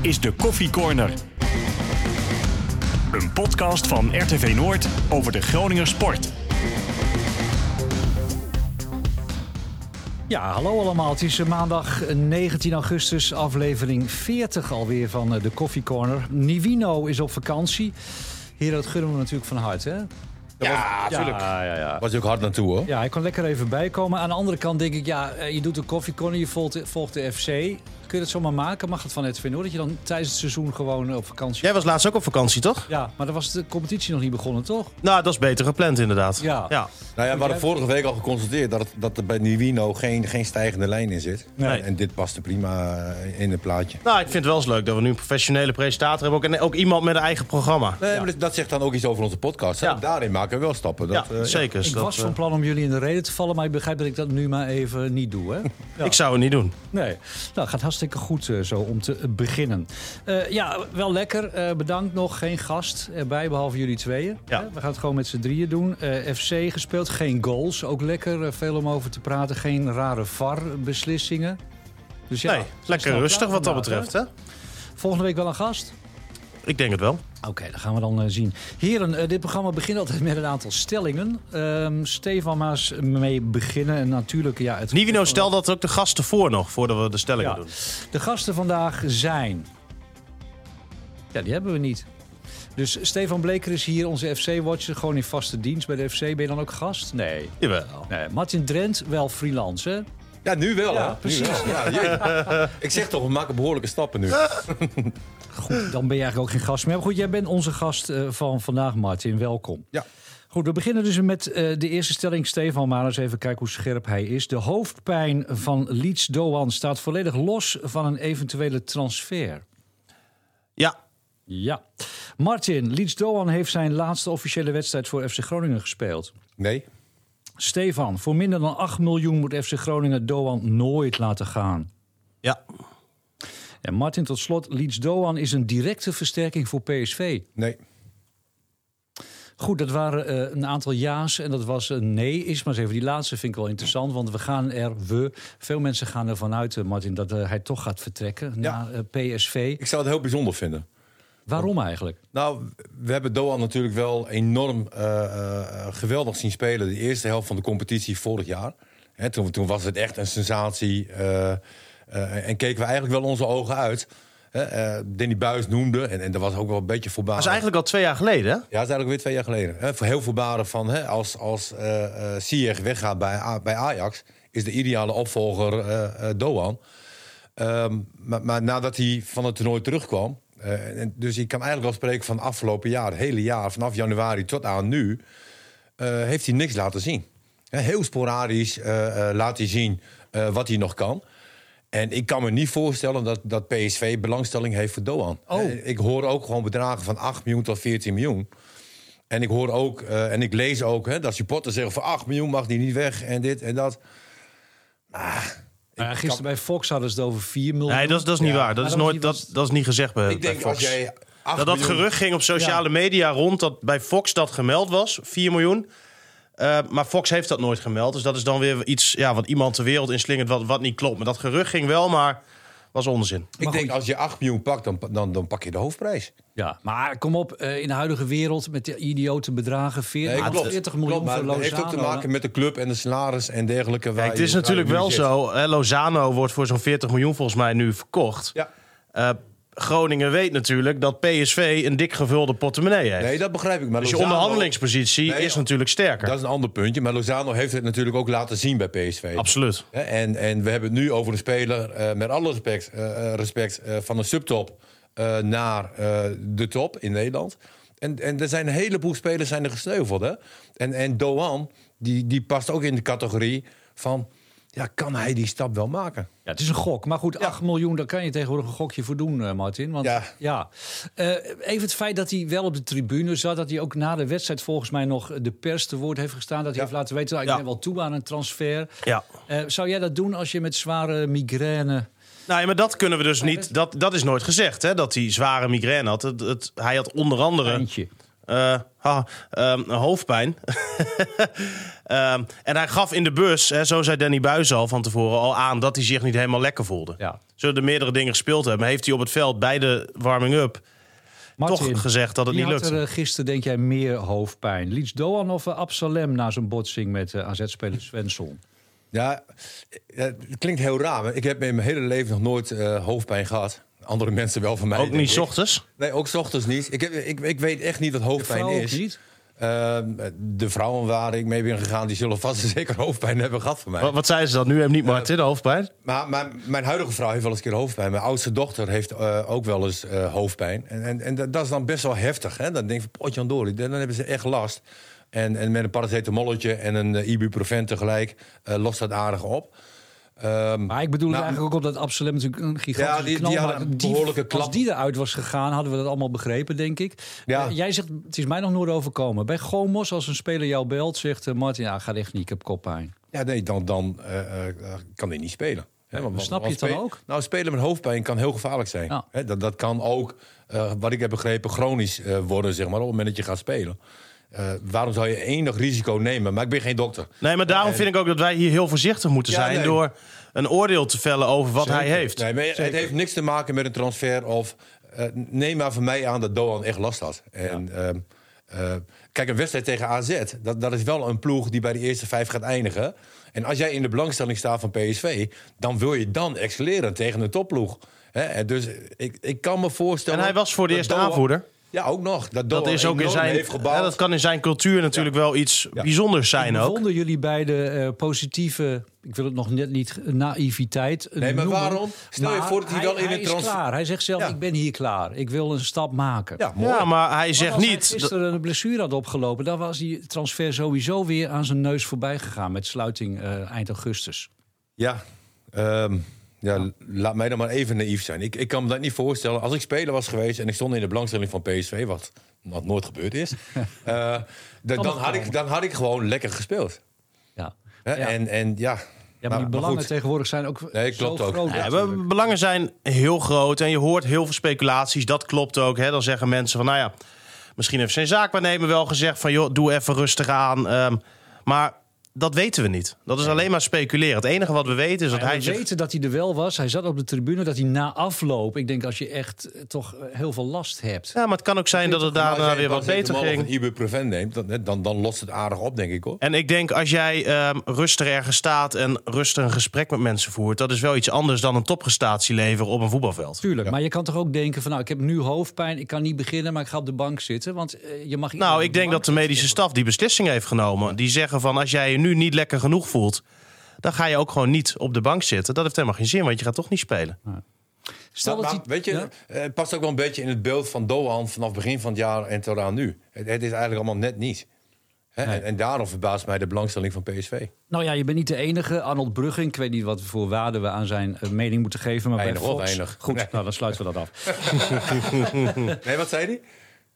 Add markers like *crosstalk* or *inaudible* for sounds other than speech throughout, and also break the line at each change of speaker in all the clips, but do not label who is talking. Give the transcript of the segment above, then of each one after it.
is de Koffie Corner. Een podcast van RTV Noord over de Groninger sport.
Ja, hallo allemaal. Het is eh, maandag 19 augustus, aflevering 40 alweer van eh, de Coffee Corner. Nivino is op vakantie. Heren, dat gunnen we natuurlijk van harte, hè?
Ja, natuurlijk.
Ja, ja, ja.
Ah, Was je ook hard naartoe hoor.
Ja, hij kon lekker even bijkomen. Aan de andere kant denk ik, ja, eh, je doet de Coffee Corner, je volgt, volgt de FC. Kun je het zomaar maken? Mag het van het Noord dat je dan tijdens het seizoen gewoon eh, op vakantie...
Jij was laatst ook op vakantie, toch?
Ja, maar dan was de competitie nog niet begonnen, toch?
Nou, dat is beter gepland, inderdaad.
Ja.
ja.
Nou ja, we hadden vorige week al geconstateerd dat, het- dat er bij Nivino geen, geen stijgende lijn in zit.
Nee.
En dit paste prima eh, in het plaatje.
Nou, ik vind het wel eens leuk dat we nu een professionele presentator hebben. Ook, en ook iemand met een eigen programma.
Nee, Eh, maar dat, dat zegt dan ook iets over onze podcast. hè?
Ja.
Daarin maken we wel stappen.
Ja,
Dat, eh,
zeker.
Ik
Dat,
was
eh,
van plan om jullie in de reden te vallen, maar ik begrijp dat ik dat nu maar even niet doe,
*laughs*
hè? Ja.
Ik zou het niet doen.
Nee, nou gaat hartstikke goed eh, zo om te eh, beginnen. Eh, ja, wel lekker. Eh, bedankt nog. Geen gast erbij, behalve jullie tweeën.
Ja.
Eh, we gaan het gewoon met z'n drieën doen. Eh, FC gespeeld, geen goals. Ook lekker, eh, veel om over te praten. Geen rare VAR-beslissingen. Dus ja,
nee, lekker
snel
rustig
klaar
wat dat
vandaag, hè?
betreft. Hè?
Volgende week wel een gast?
Ik denk het wel.
Oké, dat gaan we dan eh, zien. Heren, eh, dit programma begint altijd met een aantal stellingen. Ehm, Stefan, maar eens mee beginnen. En natuurlijk, ja, het...
Nivino, stel dat ook de gasten voor nog, voordat we de stellingen
Ja.
doen.
De gasten vandaag zijn. Ja, die hebben we niet. Dus Stefan Bleker is hier, onze FC-watcher, gewoon in vaste dienst bij de FC. Ben je dan ook gast? Nee.
Jawel.
nee. Martin Drent, wel freelance, hè?
Ja, nu wel.
Ja,
hè? Nu
precies.
wel. Ja, jee. ik zeg toch, we maken behoorlijke stappen nu.
Goed, dan ben je eigenlijk ook geen gast meer. Maar goed, jij bent onze gast eh, van vandaag, Martin. Welkom.
Ja.
Goed, we beginnen dus met eh, de eerste stelling. Stefan, maar eens even kijken hoe scherp hij is. De hoofdpijn van Leeds Doan staat volledig los van een eventuele transfer.
Ja,
Ja. Martin, Leeds Doan heeft zijn laatste officiële wedstrijd voor FC Groningen gespeeld.
Nee.
Stefan, voor minder dan 8 miljoen moet FC Groningen Doan nooit laten gaan.
ja,
En Martin, tot slot, Leeds Doan is een directe versterking voor PSV.
Nee.
Goed, dat waren eh, een aantal ja's en dat was een nee. Is maar eens even die laatste, vind ik wel interessant. Want we gaan er, we, veel mensen gaan ervan uit, eh, Martin, dat eh, hij toch gaat vertrekken naar eh, PSV.
Ik zou het heel bijzonder vinden.
Waarom eigenlijk?
Nou, we hebben Doan natuurlijk wel enorm eh, eh, geweldig zien spelen. De eerste helft van de competitie vorig jaar. Hè, toen, toen was het echt een sensatie. eh, eh, en keken we eigenlijk wel onze ogen uit. Hè, eh, Danny Buis noemde, en, en dat was ook wel een beetje
dat is
voorbarig.
eigenlijk al twee jaar geleden. Hè?
Ja, dat is eigenlijk weer twee jaar geleden. Hè, voor heel voorbarig van hè, als, als eh eh, Ziyech weggaat bij, A- bij Ajax... is de ideale opvolger eh, eh, Doan. Ehm, maar, maar nadat hij van het toernooi terugkwam. eh, en dus ik kan eigenlijk wel spreken van afgelopen jaar, het hele jaar, vanaf januari tot aan nu. eh, heeft hij niks laten zien. Hè, Heel sporadisch eh, eh, laat hij zien eh, wat hij nog kan. En ik kan me niet voorstellen dat, dat PSV belangstelling heeft voor Doan. Hè, Ik hoor ook gewoon bedragen van 8 miljoen tot 14 miljoen. En ik hoor ook, eh, en ik lees ook, hè, dat supporters zeggen van 8 miljoen mag die niet weg en dit en dat.
Nou ja, gisteren bij Fox hadden ze het over 4 miljoen.
Nee, dat is, dat is niet
Ja,
waar. Dat
maar
is,
dat was
nooit,
niet wat-
dat, dat is niet gezegd bij,
Ik
bij
denk
Fox.
als jij 8
dat dat
miljoen-
gerucht ging op sociale media rond dat bij Fox dat gemeld was, 4 miljoen. Eh, maar Fox heeft dat nooit gemeld. Dus dat is dan weer iets ja, wat iemand de wereld inslingert wat, wat niet klopt. Maar dat gerucht ging wel, maar was onzin.
Ik denk, als je 8 miljoen pakt, dan, dan, dan pak je de hoofdprijs.
Ja, maar kom op, eh, in de huidige wereld met de idiote bedragen, 40,
Nee, klopt.
40
Klopt,
miljoen
maar
voor
dat
Lozano.
heeft ook te maken met de club en de salaris en dergelijke. waar
Kijk, het is
je- waar je
natuurlijk
nu
wel
zit.
zo. Hè, Lozano wordt voor zo'n 40 miljoen volgens mij nu verkocht.
Ja.
Eh, Groningen weet natuurlijk dat PSV een dik gevulde portemonnee heeft.
Nee, dat begrijp ik. Maar
dus je
Lozano-
onderhandelingspositie
Nee,
is natuurlijk sterker.
Dat is een ander puntje. Maar Lozano heeft het natuurlijk ook laten zien bij PSV.
Absoluut.
Hè, En, en we hebben het nu over een speler, eh, met alle respect, eh, eh, respect eh, van een subtop eh, naar eh, de top in Nederland. En, en er zijn een heleboel spelers zijn er gesneuveld. Hè? En, en Doan, die, die past ook in de categorie van... Ja, kan hij die stap wel maken?
Ja, het is een gok. Maar goed, 8 miljoen, daar kan je tegenwoordig een gokje voor doen, eh, Martin. Want, ja.
Ja.
Eh, even het feit dat hij wel op de tribune zat. Dat hij ook na de wedstrijd volgens mij nog de pers te woord heeft gestaan. Dat hij
Ja.
heeft laten weten, nou, ik
Ja.
ben wel toe aan een transfer.
Ja.
Eh, zou jij dat doen als je met zware migraine...
Nou ja, maar dat kunnen we dus niet. Dat, dat is nooit gezegd, hè? Dat hij zware migraine had. Het, het, hij had onder andere
Eindje.
Eh, ha, ehm, hoofdpijn. *laughs* Ehm, en hij gaf in de bus, hè, zo zei Danny Buis al van tevoren, al aan dat hij zich niet helemaal lekker voelde.
Ja.
Zullen er meerdere dingen gespeeld hebben. Heeft hij op het veld bij de warming-up
Martin,
toch gezegd dat het
wie
niet
had
lukt?
er, eh, gisteren, denk jij, meer hoofdpijn? Leeds Doan of eh, Absalem na zijn botsing met eh, AZ-speler Svensson?
Ja, eh, ja, het klinkt heel raar. maar Ik heb in mijn hele leven nog nooit eh, hoofdpijn gehad. Andere mensen wel van mij.
Ook
denk
niet
ik.
's ochtends.
Nee, ook 's ochtends niet. Ik, heb, ik, ik weet echt niet wat
De
hoofdpijn
vrouw ook
is.
niet?
Ehm, de vrouwen waar ik mee ben gegaan, die zullen vast en zeker hoofdpijn hebben gehad van mij.
Wat, wat zei ze dan? Nu hem niet, Martin, de hoofdpijn?
Maar mijn, mijn huidige vrouw heeft wel eens een keer hoofdpijn. Mijn oudste dochter heeft eh, ook wel eens eh, hoofdpijn. En, en, en dat, dat is dan best wel heftig. Hè? Dan denk je, potje door, dan hebben ze echt last. En, en met een paracetamolletje en een eh, ibuprofen tegelijk eh, lost dat aardig op. Ehm,
Maar ik bedoel
Nou,
eigenlijk ook op dat Absalem natuurlijk een gigantische
Ja, die- die
knal
hadden
maar
een behoorlijke
Als
klap.
die eruit was gegaan, hadden we dat allemaal begrepen, denk ik.
Ja.
Eh, jij zegt, het is mij nog nooit overkomen. Bij Gomos, als een speler jou belt, zegt eh, Martin, ja, ga echt niet, ik heb koppijn.
Ja, nee, dan, dan eh, eh, kan hij niet spelen. Hè, want-
snap je
want
het dan
spe-
ook?
Nou, spelen met hoofdpijn kan heel gevaarlijk zijn.
Ja.
Hè, dat, dat kan ook, eh, wat ik heb begrepen, chronisch eh, worden, zeg maar, op het moment dat je gaat spelen. Eh, waarom zou je enig risico nemen? Maar ik ben geen dokter.
Nee, maar daarom vind ik ook dat wij hier heel voorzichtig moeten
Ja,
zijn...
nee.
door een oordeel te vellen over wat hij heeft.
Nee, maar het heeft niks te maken met een transfer of... eh, neem maar van mij aan dat Doan echt last had. En, ehm, eh, kijk, een wedstrijd tegen AZ, dat, dat is wel een ploeg die bij de eerste vijf gaat eindigen. En als jij in de belangstelling staat van PSV, dan wil je dan excelleren tegen een topploeg. Hè, en dus ik, ik kan me voorstellen...
En hij was voor de
dat
eerste
Doan-
aanvoerder.
Ja, ook nog. Dat,
Dat,
Doan
is ook in
enorm
zijn,
heeft gebouwd.
ja, dat kan in zijn cultuur natuurlijk wel iets bijzonders zijn ook.
Vonden jullie beide eh positieve, ik wil het nog net niet, eh, naïviteit eh,
Nee, maar
noemen.
waarom? Stel je
Maar
voor dat hij wel in
hij
een
is
trans-
klaar. Hij zegt zelf,
Ja.
ik ben hier klaar. Ik wil een stap maken.
Ja, mooi.
Ja, maar hij
Maar
zegt
als hij
niet... dat-
gisteren een blessure had opgelopen, dan was die transfer sowieso weer aan zijn neus voorbij gegaan met sluiting eh, eind augustus.
Ja, ehm, ja, laat mij dan maar even naïef zijn. Ik, ik kan me dat niet voorstellen. Als ik speler was geweest en ik stond in de belangstelling van PSV, wat, wat nooit gebeurd is, eh, d- dan, had ik, dan had ik gewoon lekker gespeeld.
Ja.
Hè?
Ja.
En, en ja. Ja,
Ja, maar, die belangen
goed.
tegenwoordig zijn ook
Nee,
zo
klopt ook.
groot.
Ja,
Ja,
natuurlijk.
we- belangen zijn heel groot en je hoort heel veel speculaties. Dat klopt ook. Hè? Dan zeggen mensen van, nou ja, misschien heeft zijn zaakwaarnemer wel gezegd van... joh, doe even rustig aan. Ehm, maar dat weten we niet. Dat is alleen maar speculeren. Het enige wat we weten is dat
Ja,
hij
we
zich...
weten dat hij er wel was. Hij zat op de tribune. Dat hij na afloop. Ik denk als je echt eh, toch eh, heel veel last hebt.
Ja, maar het kan ook zijn dat het
Maar als
daarna
jij
weer wat beter
paracetamol
ging.
Of een ibuprofen neemt, dan, hè, dan, dan lost het aardig op, denk ik hoor.
En ik denk als jij ehm, rustig ergens staat en rustig een gesprek met mensen voert, dat is wel iets anders dan een topprestatie leveren op een voetbalveld.
Tuurlijk, maar je kan toch ook denken van nou, ik heb nu hoofdpijn, ik kan niet beginnen, maar ik ga op de bank zitten, want eh, je mag.
Nou, ik denk dat de medische staf die beslissing heeft genomen. Die zeggen van als jij je nu niet lekker genoeg voelt, dan ga je ook gewoon niet op de bank zitten. Dat heeft helemaal geen zin, want je gaat toch niet spelen.
Stel
Maar-
dat hij,
maar weet je,
Ja?
eh, het past ook wel een beetje in het beeld van Doan vanaf begin van het jaar en tot aan nu. Het, het is eigenlijk allemaal net niet. Hè? En, en daarom verbaast mij de belangstelling van PSV.
Nou ja, je bent niet de enige. Arnold Brugging, ik weet niet wat voor waarde we aan zijn eh, mening moeten geven, maar
Weinig,
bij
hoor,
Fox.
weinig.
Goed,
Nee.
nou dan sluiten we dat
*laughs*
af.
Nee, wat zei hij?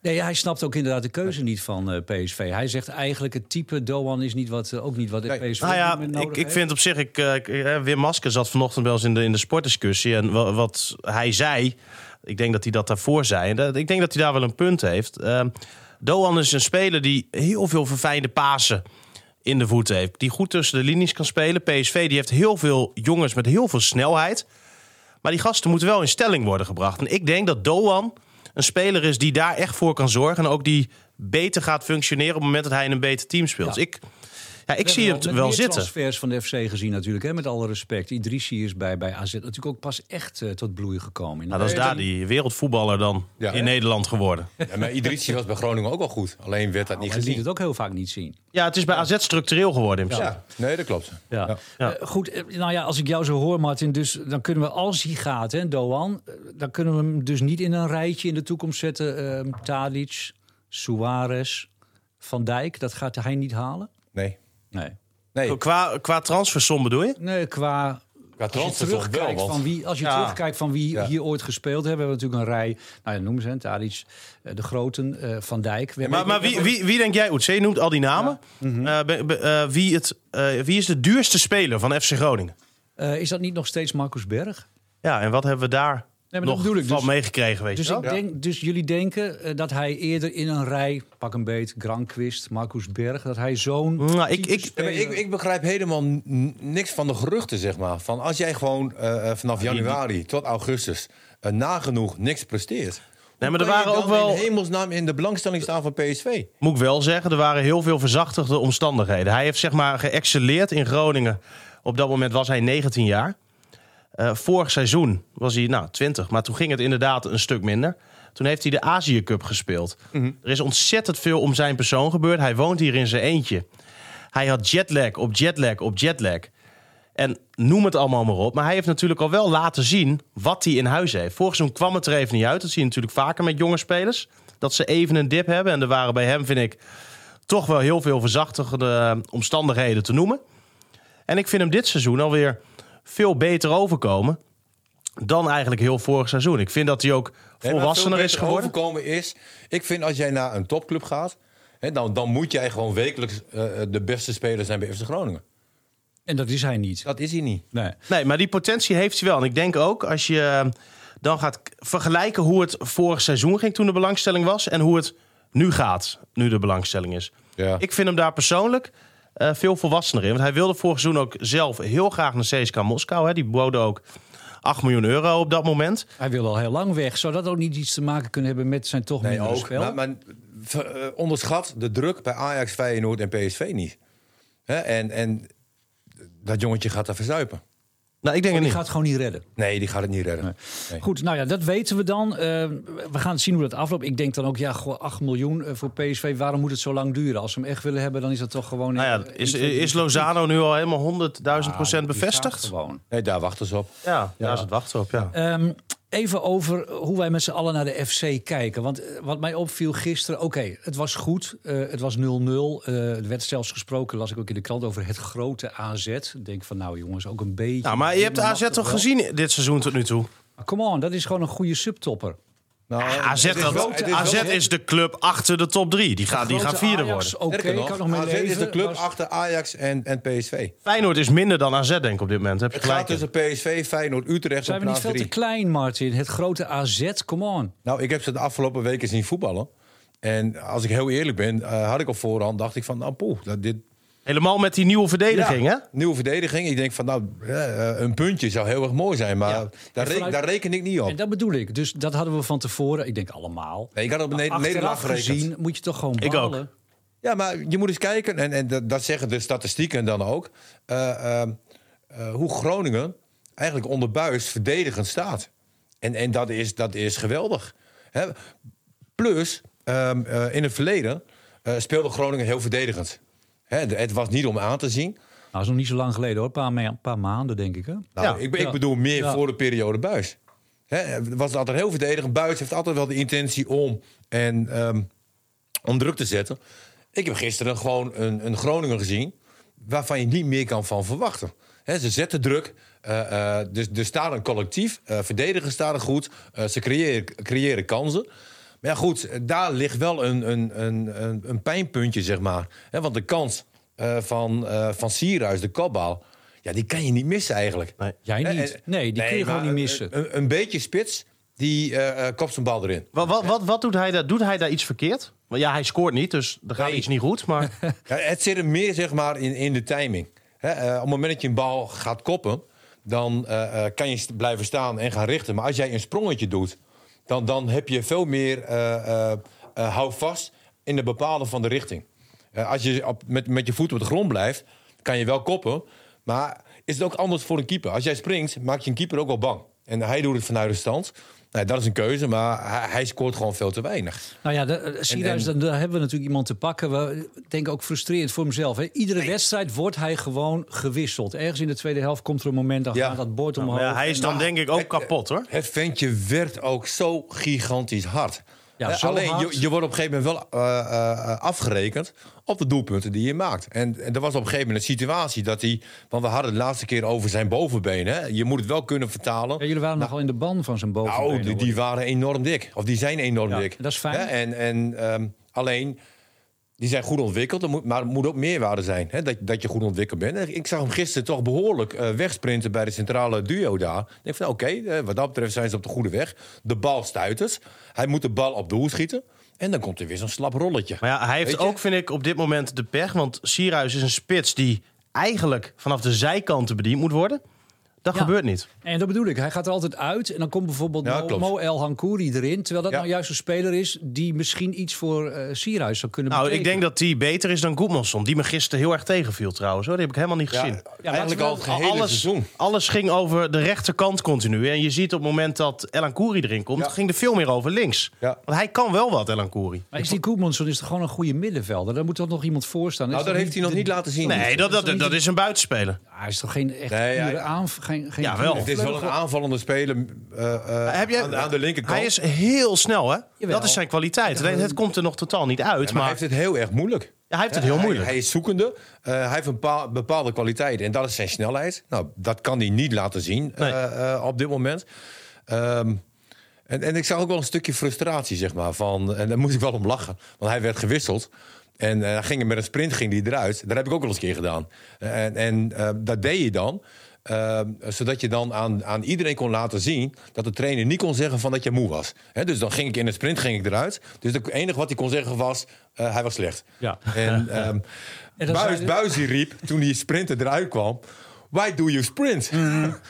Nee, hij snapt ook inderdaad de keuze niet van eh, PSV. Hij zegt eigenlijk het type Doan is niet wat, eh, ook niet wat
Nee.
PSV
Nou
op dit moment
ja, ik,
nodig
ik
heeft.
vind op zich, ik, eh, ik, eh, Wim Maske zat vanochtend bij ons in de, in de sportdiscussie. En wa- wat hij zei, ik denk dat hij dat daarvoor zei. En dat- ik denk dat hij daar wel een punt heeft. Ehm, Doan is een speler die heel veel verfijnde pasen in de voeten heeft. Die goed tussen de linies kan spelen. PSV die heeft heel veel jongens met heel veel snelheid. Maar die gasten moeten wel in stelling worden gebracht. En ik denk dat Doan een speler is die daar echt voor kan zorgen. En ook die beter gaat functioneren op het moment dat hij in een beter team speelt. Dus ik, ja, ik
We
zie
hebben
het
met
wel
meer
zitten.
transfers van de FC gezien natuurlijk, hè, met alle respect. Idrissi is bij, bij AZ natuurlijk ook pas echt eh, tot bloei gekomen.
Nou, dat is daar die wereldvoetballer dan
Ja.
in Nederland geworden.
Ja, maar Idrissi was bij Groningen ook wel goed. Alleen werd dat niet
Hij liet
gezien.
het ook heel vaak niet zien.
Ja, het is bij AZ structureel geworden in principe.
Ja, nee, dat klopt.
Ja.
Ja.
Eh, goed, eh, nou ja, als ik jou zo hoor, Martin, dus dan kunnen we als hij gaat, hè, Doan, eh, dan kunnen we hem dus niet in een rijtje in de toekomst zetten. ehm Tadic, Suarez, Van Dijk, dat gaat hij niet halen?
Nee.
Nee.
Nee,
Qua, qua transfersom bedoel je?
Nee, qua.
qua
Als je
transfer toch wel,
terugkijkt
want
van wie, als je
Ja.
terugkijkt van wie
Ja.
hier ooit gespeeld hebben, hebben we natuurlijk een rij. Nou ja, noem ze, hè, Tadic, eh, de Groten, eh, Van Dijk. We
Maar,
hebben-
maar wie, wie, wie denk jij, Oetse, je noemt al die namen. Eh, be- be- eh, wie, het, eh, wie is de duurste speler van FC Groningen?
Eh, is dat niet nog steeds Marcus Berg?
Ja, en wat hebben we daar
maar dat
nog
bedoel ik
van
dus.
meegekregen, weet je
Dus,
wel.
ik denk, dus jullie denken eh, dat hij eerder in een rij, pak een beet, Granqvist, Marcus Berg, dat hij zo'n.
Nou, ik,
type
ik,
Ja, maar ik, ik begrijp helemaal n- niks van de geruchten, zeg maar. Van als jij gewoon eh, eh, vanaf januari tot augustus eh, nagenoeg niks presteert.
nee, maar er
kan je
waren ook
dan
wel...
in hemelsnaam in de belangstelling staan van PSV.
moet ik wel zeggen, er waren heel veel verzachtigde omstandigheden. Hij heeft zeg maar geëxceleerd in Groningen. Op dat moment was hij 19 jaar. Eh, vorig seizoen was hij nou, 20, maar toen ging het inderdaad een stuk minder. Toen heeft hij de Azië Cup gespeeld. Er is ontzettend veel om zijn persoon gebeurd. Hij woont hier in zijn eentje. Hij had jetlag op jetlag op jetlag. En noem het allemaal maar op. Maar hij heeft natuurlijk al wel laten zien wat hij in huis heeft. Vorig seizoen kwam het er even niet uit. Dat zie je natuurlijk vaker met jonge spelers. Dat ze even een dip hebben. En er waren bij hem, vind ik, toch wel heel veel verzachtigende eh, omstandigheden te noemen. En ik vind hem dit seizoen alweer veel beter overkomen dan eigenlijk heel vorig seizoen. Ik vind dat hij ook
Nee, maar
volwassener
veel
is
beter
geworden.
overkomen is, ik vind als jij naar een topclub gaat, hè, dan, dan moet jij gewoon wekelijks eh, de beste speler zijn bij FC Groningen.
En dat is hij niet.
Dat is hij niet.
Nee.
Nee, maar die potentie heeft hij wel. En ik denk ook als je eh, dan gaat k- vergelijken hoe het vorig seizoen ging toen de belangstelling was en hoe het nu gaat, nu de belangstelling is.
Ja.
Ik vind hem daar persoonlijk eh, veel volwassener in. Want hij wilde vorig seizoen ook zelf heel graag naar CSK Moskou. Hè. Die boden ook 8 miljoen euro op dat moment.
Hij wil al heel lang weg. Zou dat ook niet iets te maken kunnen hebben met zijn toch
Nee,
mindere
ook.
spel?
Maar, maar ver- eh, onderschat de druk bij Ajax, Feyenoord en PSV niet. Hè, en, en dat jongetje gaat daar verzuipen.
Nou, ik denk het
Oh, die
niet.
gaat het gewoon niet redden.
Nee, die gaat het niet redden. Nee.
Goed, nou ja, dat weten we dan. Eh, we gaan zien hoe dat afloopt. Ik denk dan ook, ja, goh, 8 miljoen eh, voor PSV. Waarom moet het zo lang duren? Als ze hem echt willen hebben, dan is dat toch gewoon...
Nou ja,
eh,
is,
in-
is Lozano nu al helemaal 100.000
Ah,
procent
die staat
bevestigd?
Gewoon.
Nee, daar wachten ze op.
Ja, daar is het wachten op, ja.
Ehm, even over hoe wij met z'n allen naar de FC kijken. Want eh, wat mij opviel gisteren, oké, het was goed. eh, het was 0-0. Eh, er werd zelfs gesproken, las ik ook in de krant, over het grote AZ. Ik denk van, nou jongens, ook een beetje.
Nou, maar je hebt
mag
AZ
dat
toch
wel?
gezien dit seizoen tot nu toe?
Maar Come on, dat is gewoon een goede subtopper.
Nou,
Ja, AZ,
het is
dat-
wel- het is
AZ
wel-
is de club achter de top drie. Die gaat, die gaat
Grote
vierde
Ajax,
worden.
Oké,
Sterker nog,
kan nog mee
AZ
leven.
is de club
Was-
achter Ajax en, en PSV.
Feyenoord is minder dan AZ, denk ik, op dit moment. Heb je
Het gaat
gelijk. in.
tussen PSV, Feyenoord, Utrecht
Zijn
en
we niet
plaats
veel te
drie.
klein, Martin? Het grote AZ, come on.
Nou, ik heb ze de afgelopen weken zien voetballen. En als ik heel eerlijk ben, eh, had ik op voorhand dacht ik van, nou poeh, dat dit...
Helemaal met die nieuwe verdediging,
dus- Ja,
hè?
Nieuwe verdediging. Ik denk van, nou, eh, eh, een puntje zou heel erg mooi zijn, maar
Ja.
daar, re-
Vanuit-
daar reken ik niet op.
En dat bedoel ik. Dus dat hadden we van tevoren, ik denk allemaal.
Nee, ik had op ne-
Achteraf
Nederland gerekend.
gezien moet je toch gewoon
Ik
balen.
ook.
Ja, maar je moet eens kijken, en, en dat, dat zeggen de statistieken dan ook, eh, eh, eh, hoe Groningen eigenlijk onder buis verdedigend staat. En, en dat, is, dat is geweldig. Hè? Plus, ehm, eh, in het verleden eh, speelde Groningen heel verdedigend. Hè, de- het was niet om aan te zien.
Nou, dat is nog niet zo lang geleden hoor. Een paar, me- een paar maanden, denk ik. Hè?
Nou,
Ja,
ik, be-
ja.
ik bedoel meer
Ja.
voor de periode buis. Hè, was altijd heel verdedigend. Buis heeft altijd wel de intentie om, en, ehm, om druk te zetten. Ik heb gisteren gewoon een, een Groningen gezien waarvan je niet meer kan van verwachten. Hè, ze zetten druk. eh, eh, dus er staat een collectief. eh verdedigen staan er goed. eh, ze creëren, creëren kansen. Maar ja, goed, daar ligt wel een, een, een, een, een pijnpuntje, zeg maar. Hè, want de kans eh, van, eh van Sierhuis, de kopbal... Ja, die kan je niet missen eigenlijk.
Nee.
Jij
Eh,
niet.
eh,
Nee, die kun je gewoon
maar
niet missen.
Een, een beetje spits, die eh eh, kopt zijn bal erin.
Wat, wat, wat, wat doet, hij daar, doet hij daar iets verkeerd? Want ja, hij scoort niet, dus er gaat
Nee.
iets niet
*laughs*
goed. Maar
Ja, het zit er meer zeg maar, in, in de timing. Hè, eh, op het moment dat je een bal gaat koppen, dan eh, eh, kan je st- blijven staan en gaan richten. Maar als jij een sprongetje doet, dan, dan heb je veel meer eh eh eh, houvast in het bepalen van de richting. Eh, als je op, met, met je voet op de grond blijft, kan je wel koppen. Maar is het ook anders voor een keeper? Als jij springt, maak je een keeper ook wel bang. En hij doet het vanuit de stand. Nou, dat is een keuze, maar hij, hij scoort gewoon veel te weinig.
Nou ja, de- eh, Sierhuis,
en-
dan- daar hebben we natuurlijk iemand te pakken. We, ik denk ook frustrerend voor hemzelf. Hè. Iedere wedstrijd wordt hij gewoon gewisseld. Ergens in de tweede helft komt er een moment, dan
Ja.
gaat dat bord omhoog.
Nou, maar ja, hij is dan denk ik ook kapot, hoor.
Nou, Het ventje werd ook zo gigantisch hard.
Ja,
Eh,
zo
Alleen
hard.
Je, je wordt op een gegeven moment wel eh, eh, eh, afgerekend op de doelpunten die je maakt. En, en er was op een gegeven moment een situatie dat hij. Want we hadden het de laatste keer over zijn bovenbeen. Hè? Je moet het wel kunnen vertalen.
Ja, jullie waren nogal in de ban van zijn bovenbeen.
Nou, die,
hoor.
die waren enorm dik. Of die zijn enorm
Ja,
dik.
dat is fijn.
Hè, En, en ehm, alleen, die zijn goed ontwikkeld, er moet- maar er moet ook meerwaarde zijn. Hè, dat, dat je goed ontwikkeld bent. En Ik zag hem gisteren toch behoorlijk eh, wegsprinten bij de centrale duo daar. Ik denk van, oké, eh, wat dat betreft zijn ze op de goede weg. De bal stuiters. Hij moet de bal op doel schieten. En dan komt er weer zo'n slap rolletje.
Maar ja, hij heeft
Weet je?
ook, vind ik, op dit moment de pech. Want Sierhuis is een spits die eigenlijk vanaf de zijkanten bediend moet worden. Dat
Ja.
gebeurt niet. Nou,
En dat bedoel ik. Hij gaat er altijd uit. En dan komt bijvoorbeeld
Ja,
Mo,
klopt.
Mo El Hankouri erin. Terwijl dat
Ja.
nou juist een speler is die misschien iets voor eh Sierhuis zou kunnen
Nou, ik
betekenen.
denk dat die beter is dan Goedmanson. Die me gisteren heel erg tegenviel trouwens. Hoor. Die heb ik helemaal niet
Ja,
gezien.
eigenlijk al het
Al-
gehele
alles,
seizoen.
alles ging over de rechterkant continu. En je ziet op het moment dat Elan Koeri erin komt,
Ja.
ging er veel meer over links.
Ja.
Want hij kan wel wat, Elan Koeri.
Maar is die Koemanson is toch gewoon een goede middenvelder? Daar moet toch nog iemand voor staan?
Nou,
Is
dat
toch
heeft hij
niet
nog niet laten zien.
Nee, dat, dat,
niet-
dat is een buitenspeler.
de- Hij is toch geen echt
Nee,
pure
hij-
aanv... Geen, geen
Ja, wel.
pure
Het is wel een
vleugel?
aanvallende speler eh, eh,
Heb je-
aan, aan de linkerkant.
Hij is heel snel, hè?
Jawel.
Dat is zijn kwaliteit. Alleen, het komt er nog totaal niet uit.
Ja, maar
maar
hij heeft het heel erg moeilijk.
hij heeft het heel
Hij-
moeilijk.
Hij, is zoekende. Eh, hij heeft een pa- bepaalde kwaliteiten. En dat is zijn snelheid. Nou, dat kan hij niet laten zien
Nee.
eh, eh, op dit moment. Ehm, en, en ik zag ook wel een stukje frustratie, zeg maar. Van, en daar moest ik wel om lachen. Want hij werd gewisseld. En eh, hij ging er met een sprint ging die eruit. Dat heb ik ook wel eens een keer gedaan. En, en eh, dat deed je dan. eh, zodat je dan aan, aan iedereen kon laten zien dat de trainer niet kon zeggen van dat je moe was. Hè, dus dan ging ik in een sprint ging ik eruit. Dus het enige wat hij kon zeggen was, eh, hij was slecht.
Ja.
En, ehm
En dan
Buis,
zei-
Buis die riep toen die sprinter eruit kwam. Why do you sprint? *laughs*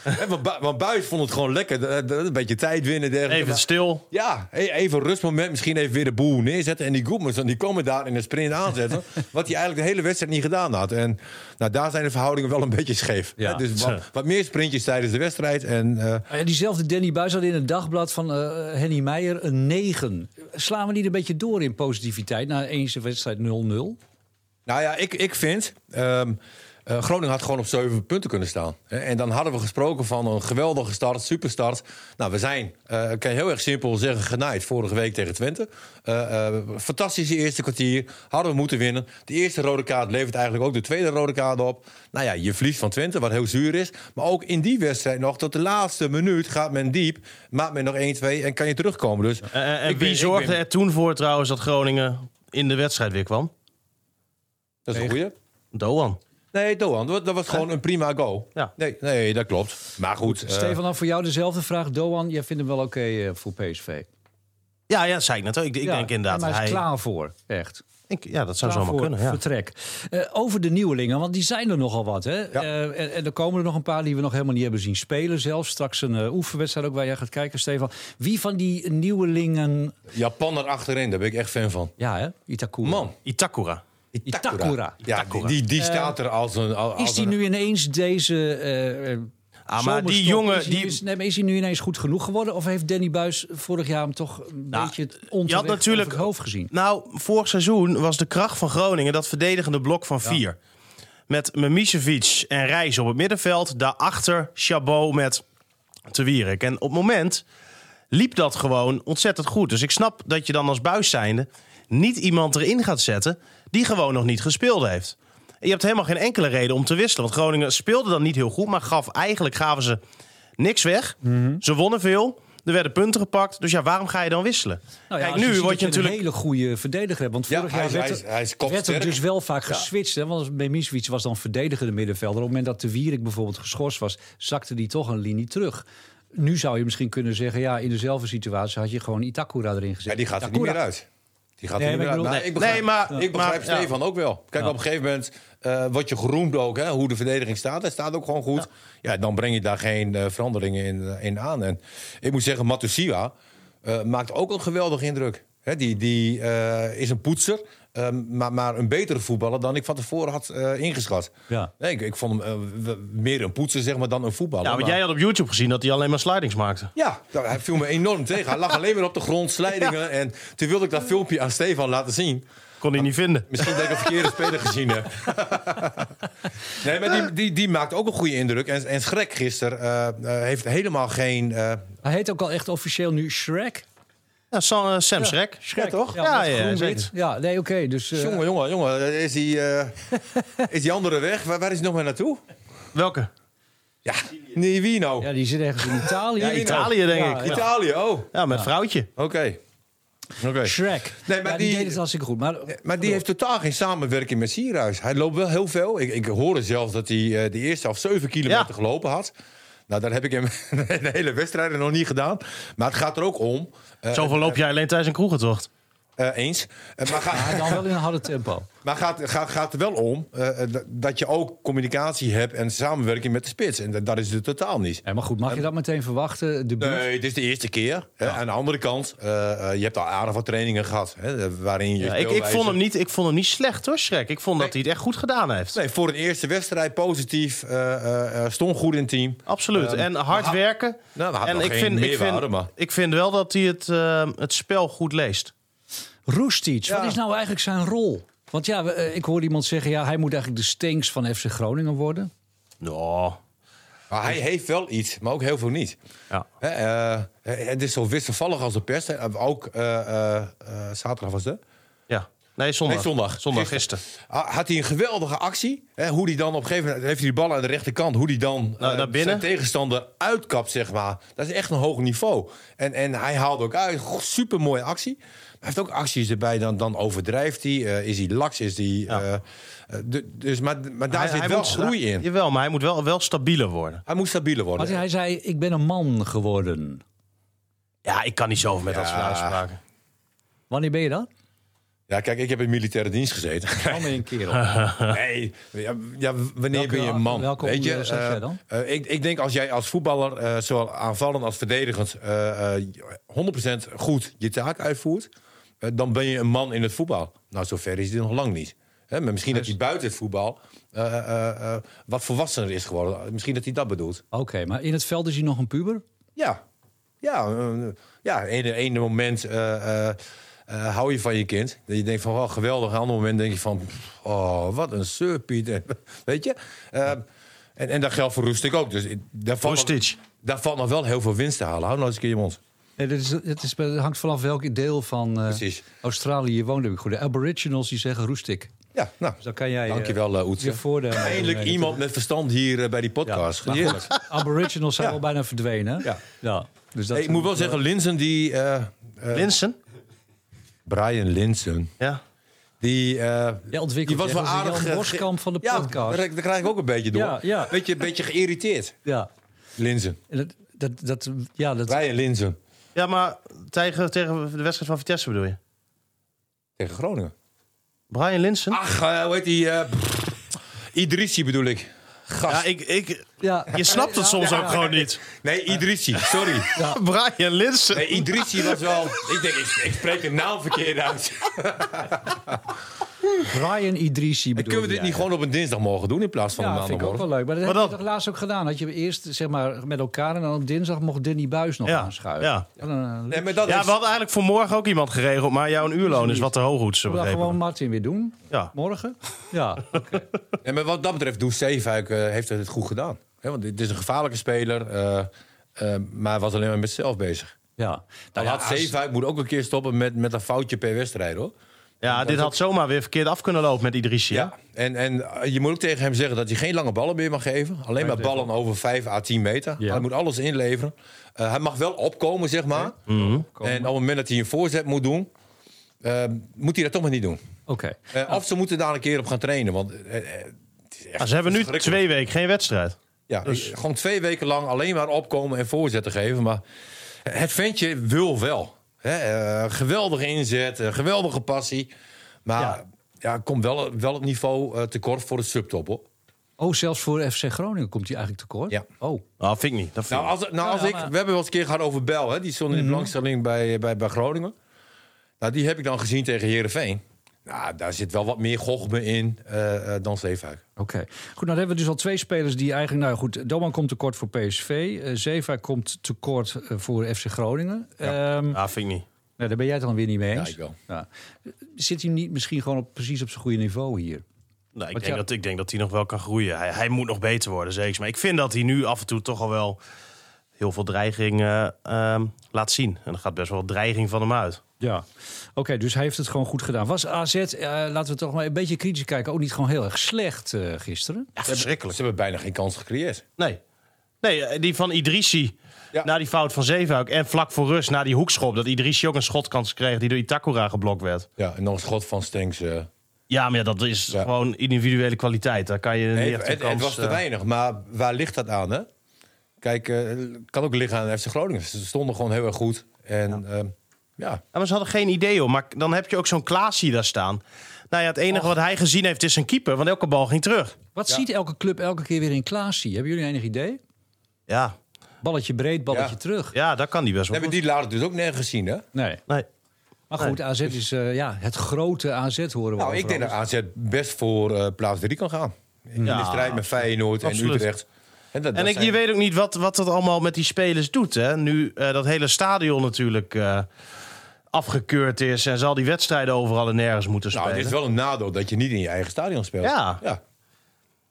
Hè, want, Bu- want Buis vond het gewoon lekker. eh, eh, Een beetje tijd winnen. Dergelijke.
Even stil.
Ja, e- even een rustmoment. Misschien even weer de boel neerzetten. En die Goedmans, die komen daar in een sprint aanzetten. wat hij eigenlijk de hele wedstrijd niet gedaan had. En nou, daar zijn de verhoudingen wel een beetje scheef.
Ja.
Hè, Dus wat, wat meer sprintjes tijdens de wedstrijd. En, eh,
Ah ja, diezelfde Danny Buis had in het dagblad van eh, Henny Meijer een 9. Slaan we niet een beetje door in positiviteit na eens de wedstrijd 0-0?
Nou ja, ik, ik vind. ehm, eh, Groningen had gewoon op zeven punten kunnen staan. Hè, En dan hadden we gesproken van een geweldige start, superstart. Nou, we zijn, eh, ik kan heel erg simpel zeggen, genaaid vorige week tegen Twente. Eh, eh, fantastische eerste kwartier, hadden we moeten winnen. De eerste rode kaart levert eigenlijk ook de tweede rode kaart op. Nou ja, je verliest van Twente, wat heel zuur is. Maar ook in die wedstrijd nog, tot de laatste minuut gaat men diep. Maakt men nog 1-2 en kan je terugkomen. Dus
Eh, eh,
ik
en wie
ben- ik
zorgde
ben-
er toen voor trouwens dat Groningen in de wedstrijd weer kwam?
dat is een goeie.
Doan.
Nee, Doan, dat dat was gewoon een prima goal.
Ja.
Nee, nee, dat klopt. Maar goed. eh,
Stefan, dan voor jou dezelfde vraag. Doan, jij vindt hem wel oké eh, voor PSV?
Ja, ja, dat zei ik net. ook. Ik, ik
Ja,
denk inderdaad.
Maar hij is
hij,
klaar voor, echt.
ik- ja, dat zou
Klaar
zomaar
voor
kunnen. Ja.
vertrek. Eh, over de nieuwelingen, want die zijn er nogal wat. Hè? Eh, en, en er komen er nog een paar die we nog helemaal niet hebben zien spelen zelf. Straks een eh, oefenwedstrijd ook waar jij gaat kijken, Stefan. Wie van die nieuwelingen...
eh, Japan erachterin, daar ben ik echt fan van.
Ja, hè? Itakura.
Man,
Itakura.
Itakura.
Ja, die, die, die staat er als een. Als
Is die
een-
nu ineens deze... eh, eh,
Ah, maar die
zomerstop,
jongen...
Is hij,
Die,
is, nee, maar is hij nu ineens goed genoeg geworden? Of heeft Danny Buis vorig jaar hem toch een
Nou,
beetje het
je had
onterecht
natuurlijk-
over het hoofd gezien?
Nou, vorig seizoen was de kracht van Groningen dat verdedigende blok van vier. Met Mimicevic en Reis op het middenveld. Daarachter Chabot met Te Wierik. En op het moment liep dat gewoon ontzettend goed. Dus ik snap dat je dan als buis zijnde niet iemand erin gaat zetten... die gewoon nog niet gespeeld heeft. En je hebt helemaal geen enkele reden om te wisselen. Want Groningen speelde dan niet heel goed, maar gaf, eigenlijk gaven ze niks weg.
Mhm.
Ze wonnen veel, er werden punten gepakt. Dus ja, waarom ga je dan wisselen?
Nou ja,
Kijk,
als
nu
ziet
word
dat
je natuurlijk...
een hele goede verdediger hebt. Want
Ja,
vorig
hij
jaar
is-
werd,
hij is- hij is
er, werd er
kopsterk.
dus wel vaak geswitcht. Hè? Want Memisovic was dan verdedigende middenvelder. Op het moment dat de Wierik bijvoorbeeld geschorst was, zakte die toch een linie terug. Nu zou je misschien kunnen zeggen, ja, in dezelfde situatie had je gewoon Itakura erin gezet.
Ja, die gaat er niet
Itakura-
meer uit. Die gaat
Nee,
er niet
maar
meer
ik
uit.
bedoel-
Maar ik begrijp,
Nee, maar-
ik begrijp
maar- ja.
Stefan ook wel. Kijk, op een gegeven moment eh word je geroemd ook, hè, hoe de verdediging staat. Hij staat ook gewoon goed. Ja, dan breng je daar geen eh, veranderingen in, eh, in aan. En ik moet zeggen, Matusiwa eh, maakt ook een geweldige indruk. Hè, die die eh, is een poetser, eh, maar, maar een betere voetballer dan ik van tevoren had eh, ingeschat.
Ja.
Nee, ik, ik vond hem eh, w- meer een poetser zeg maar, dan een voetballer.
Ja, want
Maar-
jij had op YouTube gezien dat hij alleen maar slidings maakte.
ja, nou, hij viel me enorm tegen. Hij lag alleen maar op de grond, slijdingen. En toen wilde ik dat filmpje aan Stefan laten zien.
Kon hij niet vinden.
Misschien dat ik een verkeerde speler gezien *laughs* heb. nee, maar die, die, die maakt ook een goede indruk. En, en Schrek gisteren eh, eh, heeft helemaal geen... eh,
Hij heet ook al echt officieel nu Shrek.
Ja, Sam, eh, Sam Schrek.
Shrek,
toch?
Ja,
Ja,
met
ja,
groen-wit.
zeker.
ja nee, oké. dus, eh,
jongen, jongen, jongen. Is die, *laughs* eh, is die andere weg? Waar, waar is hij nog maar naartoe?
Welke?
Ja, nee, wie nou?
ja, die zit ergens in Italië.
Ja, Italië.
Italië, denk ik.
Ja.
Italië, oh. Oké.
Ja, met vrouwtje.
Oké.
Shrek.
Nee, maar
Ja, die,
die-
deed het hartstikke goed. Maar,
Maar die heeft totaal geen samenwerking met Sierhuis. Hij loopt wel heel veel. Ik, ik hoorde zelfs dat hij eh, de eerste half 7 kilometer
Ja.
gelopen had. Nou, dat heb ik hem *laughs* de hele wedstrijd nog niet gedaan. Maar het gaat er ook om. eh,
Zoveel loop jij alleen tijdens een kroegentocht.
eh, eens. Eh, maar ga-
maar dan wel in een harde tempo.
Maar gaat, gaat, gaat er wel om eh, eh, dat- dat je ook communicatie hebt en samenwerking met de spits. En dat, dat is het totaal niet.
Ja, maar goed, mag je dat meteen verwachten? De buurt?
Nee, het is de eerste keer. hè. Aan de andere kant, eh, eh, je hebt al aardig wat trainingen gehad. Hè, eh, waarin je
Ja, ik, ik,
speelwijze-
vond hem niet, ik vond hem niet slecht hoor, Shrek. Ik vond dat hij het echt goed gedaan heeft.
Nee, voor een eerste wedstrijd positief. eh, eh, eh, stond goed in het team.
Absoluut. en hard
Eh, maar-
werken.
Nou, we hadden
en
nog
ik
geen
vind, ik,
meerwaarde,
vind,
maar-
ik vind wel dat hij het, eh, het spel goed leest.
Roestic,
Ja.
wat is nou eigenlijk zijn rol? Want ja, we- eh, ik hoorde iemand zeggen, ja, hij moet eigenlijk de Stinks van FC Groningen worden.
Nou,
Maar hij heeft wel iets, maar ook heel veel niet.
Ja.
Hè, eh, het is zo wisselvallig als de pest. hè. Ook eh, eh, eh, zaterdag was het. hè?
ja. Nee, zondag.
Nee, zondag.
Zondag,
Gisteren.
gisteren.
Ah, Had hij een geweldige actie. Hè, hoe die dan op een gegeven moment... Heeft hij die bal aan de rechterkant. Hoe die dan
Nou,
eh,
naar binnen.
zijn tegenstander uitkapt, zeg maar. Dat is echt een hoog niveau. En, en hij haalde ook uit. Super mooie actie. Maar hij heeft ook acties erbij. Dan, dan overdrijft hij. eh, is hij laks? Is hij... eh, eh, du- dus, maar, maar daar
Hij-
zit
hij
wel
moet-
groei in.
Jawel, maar hij moet wel, wel stabieler worden.
Hij moet stabieler worden.
Want hij zei, ik ben een man geworden.
Ja, ik kan niet zoveel met dat soort uitspraken.
Wanneer ben je dat?
Ja, kijk, ik heb in militaire dienst gezeten.
Al een kerel.
Nee, ja, ja, wanneer
Welke-
ben je een man?
welke
Weet je,
onderdeel zeg
eh,
jij dan?
eh, ik, ik denk als jij als voetballer, eh, zowel aanvallend als verdedigend, eh, eh, 100% goed je taak uitvoert, eh, dan ben je een man in het voetbal. Nou, zover is dit nog lang niet. Hè, maar misschien dat hij buiten het voetbal eh, eh, eh, wat volwassener is geworden. Misschien dat hij dat bedoelt.
Oké, maar in het veld is hij nog een puber?
Ja, ja, eh, ja. Ene, ene moment eh, eh, eh, hou je van je kind. Dat je denkt van, oh, geweldig. Een ander moment denk je van, pff, oh, wat een surpiet. *laughs* Weet je? Eh, en, en dat geldt voor Rustic ook. Dus ik- daar valt, nog-
Rustic.
daar valt nog wel heel veel winst te halen. Hou nou eens een keer je mond.
Nee, dat is, het, is, het hangt vanaf welk deel van eh,
Precies.
Australië je woont. Heb ik goed. De aboriginals die zeggen roestik.
Ja, nou,
Dus dan kan jij eh,
dankjewel eh
je
Oetse.
voordeel mee
Eindelijk
doen. eh,
iemand met verstand hier eh, bij die podcast.
Maar
Heerlijk.
goed, aboriginals zijn
Ja.
al bijna verdwenen.
Ja.
Dus dat
Hey, ik moet wel zeggen, Linsen die... eh, eh,
Linsen?
Brian Linsen.
Ja.
Die, eh,
Ja, ontwikkeld.
die was
Jij
wel
was de
aardig.
Jan
ge-
Boskamp van de
ja,
podcast.
Daar, daar krijg ik ook een beetje door.
Ja, ja.
Beetje, beetje geïrriteerd.
Ja,
Linzen.
En dat, dat, dat, ja, dat,
Brian Linzen.
Ja, maar tegen, tegen de wedstrijd van Vitesse bedoel je?
Tegen Groningen.
Brian Linsen?
Ach, eh, hoe heet die? eh, Idrissi bedoel ik.
ja,
Gast.
ik, ik,
ja.
je snapt het soms ook gewoon niet.
Nee, Idrissi. Sorry.
*laughs* Brian Linsen.
Nee, Idrissi was wel... Ik denk, ik, ik spreek de naam verkeerd uit.
Brian Idrisi bedoel
*laughs* Kunnen we dit
jij?
niet gewoon op een dinsdag mogen doen in plaats van een
Ja, vind ik ook
maandagmorgen?
wel leuk. Maar dat
Maar
heb je
dan-
toch laatst ook gedaan. Dat je eerst zeg maar, met elkaar en dan op dinsdag mocht Danny Buis nog
Ja,
aanschuiven.
ja.
Wat een-
Nee, maar dat
Ja,
is...
we hadden eigenlijk voor morgen ook iemand geregeld, maar jouw uurloon is wat te hoog, hoe ze
Zullen we dat
begrepen.
gewoon Martin weer doen?
Ja.
*laughs*
Morgen? Ja.
Nee, maar wat dat betreft, Does Zeefuik eh, heeft het goed gedaan. Hè, want dit is een gevaarlijke speler, eh, eh, maar was alleen maar met zichzelf bezig.
ja.
Dan
Nou ja,
had
als-
Zeefuik moet ook een keer stoppen met, met een foutje per wedstrijd, hoor.
Ja, dit had zomaar weer verkeerd af kunnen lopen met Idrissi. hè?
Ja. En, en eh, je moet ook tegen hem zeggen dat hij geen lange ballen meer mag geven. Alleen maar ballen over 5 à 10 meter.
Ja.
Hij moet alles inleveren. Eh, hij mag wel opkomen, zeg maar.
Mhm.
En op het moment dat hij een voorzet moet doen, eh, moet hij dat toch maar niet doen.
Oké.
Eh,
Nou.
Of ze moeten daar een keer op gaan trainen. Want eh, eh, het is echt
Ah, ze hebben nu
verschrikkelijk.
twee weken geen wedstrijd.
Ja, ik- gewoon twee weken lang alleen maar opkomen en voorzetten geven. Maar het ventje wil wel. Hè, eh, geweldige inzet, eh, geweldige passie. Maar ja.
Ja.
komt wel, wel het niveau eh, tekort voor de subtop. Hoor. Nou,
Oh, zelfs voor FC Groningen komt hij eigenlijk tekort?
Ja.
Oh.
Nou, vind ik niet. Dat vind
Nou,
ik.
als, nou, als
ja,
ik, we
maar-
hebben wel eens een keer gehad over Bel. Hè, die stond in de belangstelling bij, eh, bij, bij Groningen. Nou, die heb ik dan gezien tegen Herenveen. Nou, daar zit wel wat meer gochme in eh, eh, dan Zeefuik.
Oké. Goed, nou dan hebben we dus al twee spelers die eigenlijk... Nou goed, Doman komt tekort voor PSV. eh Zeva komt tekort eh, voor FC Groningen. Ehm,
niet. Ah, vind ik niet.
nou, daar ben jij het dan weer niet mee eens.
ik wel.
Ja. Zit hij niet misschien gewoon op, precies op zijn goede niveau hier?
Nee, Nou,
Want
ik, denk
ja-
dat, ik denk dat hij nog wel kan groeien. Hij, hij moet nog beter worden, zeker. Maar ik vind dat hij nu af en toe toch al wel heel veel dreiging eh, ehm, laat zien. En er gaat best wel wat dreiging van hem uit.
Ja. Oké, dus hij heeft het gewoon goed gedaan. Was AZ, eh, laten we toch maar een beetje kritisch kijken... ook niet gewoon heel erg slecht eh, gisteren?
Ja, verschrikkelijk.
Ze hebben bijna geen kans gecreëerd.
Nee. Nee, eh, die van Idrissi.
Ja.
Na die fout van Zeefuik. En vlak voor rust, na die hoekschop. Dat Idrissi ook een schotkans kreeg die door Itakura geblokt werd.
Ja, en dan een schot van Stenks. eh.
Ja, maar ja, dat is
Ja.
gewoon individuele kwaliteit. Daar kan je niet
Nee,
echt
het, het
een kans,
was te
eh,
weinig, maar waar ligt dat aan? Hè? Kijk, eh kan ook liggen aan FC Groningen. Ze stonden gewoon heel erg goed. En ja, ja.
Ja, maar ze hadden geen idee, hoor. Maar dan heb je ook zo'n Klaasie daar staan. Nou ja, het enige wat hij gezien heeft is een keeper. Want elke bal ging terug.
Wat ziet elke club elke keer weer in Klaasie? Hebben jullie enig idee?
Ja,
Balletje breed, balletje
Ja.
terug.
ja dat kan die best wel
hebben
goed.
die later dus ook nergens gezien. Hè?
Nee.
Nee.
Maar goed, AZ is eh, ja, het grote AZ horen we
Nou, ik
overal.
denk dat AZ best voor eh, plaats 3 kan gaan. In
Ja,
de strijd met Feyenoord en
Absoluut.
Utrecht. En, dat,
En
dat
ik,
zijn-
je weet ook niet wat, wat dat allemaal met die spelers doet. Hè? Nu eh, dat hele stadion natuurlijk eh, afgekeurd is... en zal die wedstrijden overal en nergens moeten spelen.
nou, het is wel een nadeel dat je niet in je eigen stadion speelt.
Ja.
ja.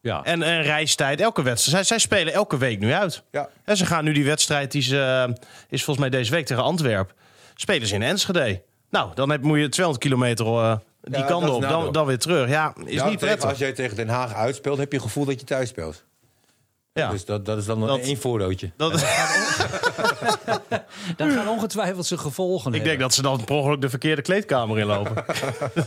Ja.
En, en reistijd, elke wedstrijd. Zij, zij spelen elke week nu uit.
Ja.
En ze gaan nu die wedstrijd, die ze, eh, is volgens mij deze week tegen Antwerpen. Spelen ze in Enschede. Nou, dan heb, moet je 200 kilometer eh, die
Ja, dat
kant
is
op,
nadeel.
dan, dan weer terug. Ja, is
Ja,
niet
Nou, tegen-
prettig.
Als jij tegen Den Haag uitspeelt, heb je het gevoel dat je thuis speelt.
Ja.
Dus dat, dat is dan
Dat-
één voordeeltje.
Dat,
Daar gaan ongetwijfeld zijn gevolgen
*laughs* ik
hebben.
denk dat ze dan per ongeluk de verkeerde kleedkamer
*laughs*
inlopen.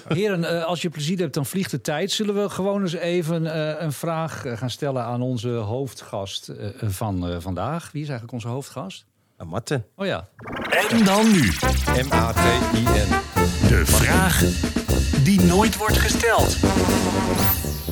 Heren, eh, als je plezier hebt, dan vliegt de tijd. Zullen we gewoon eens even eh, een vraag eh, gaan stellen aan onze hoofdgast eh, van eh, vandaag? Wie is eigenlijk onze hoofdgast?
nou, Martin.
Oh ja,
En dan nu
M-A-T-I-N.
de vraag die nooit wordt gesteld.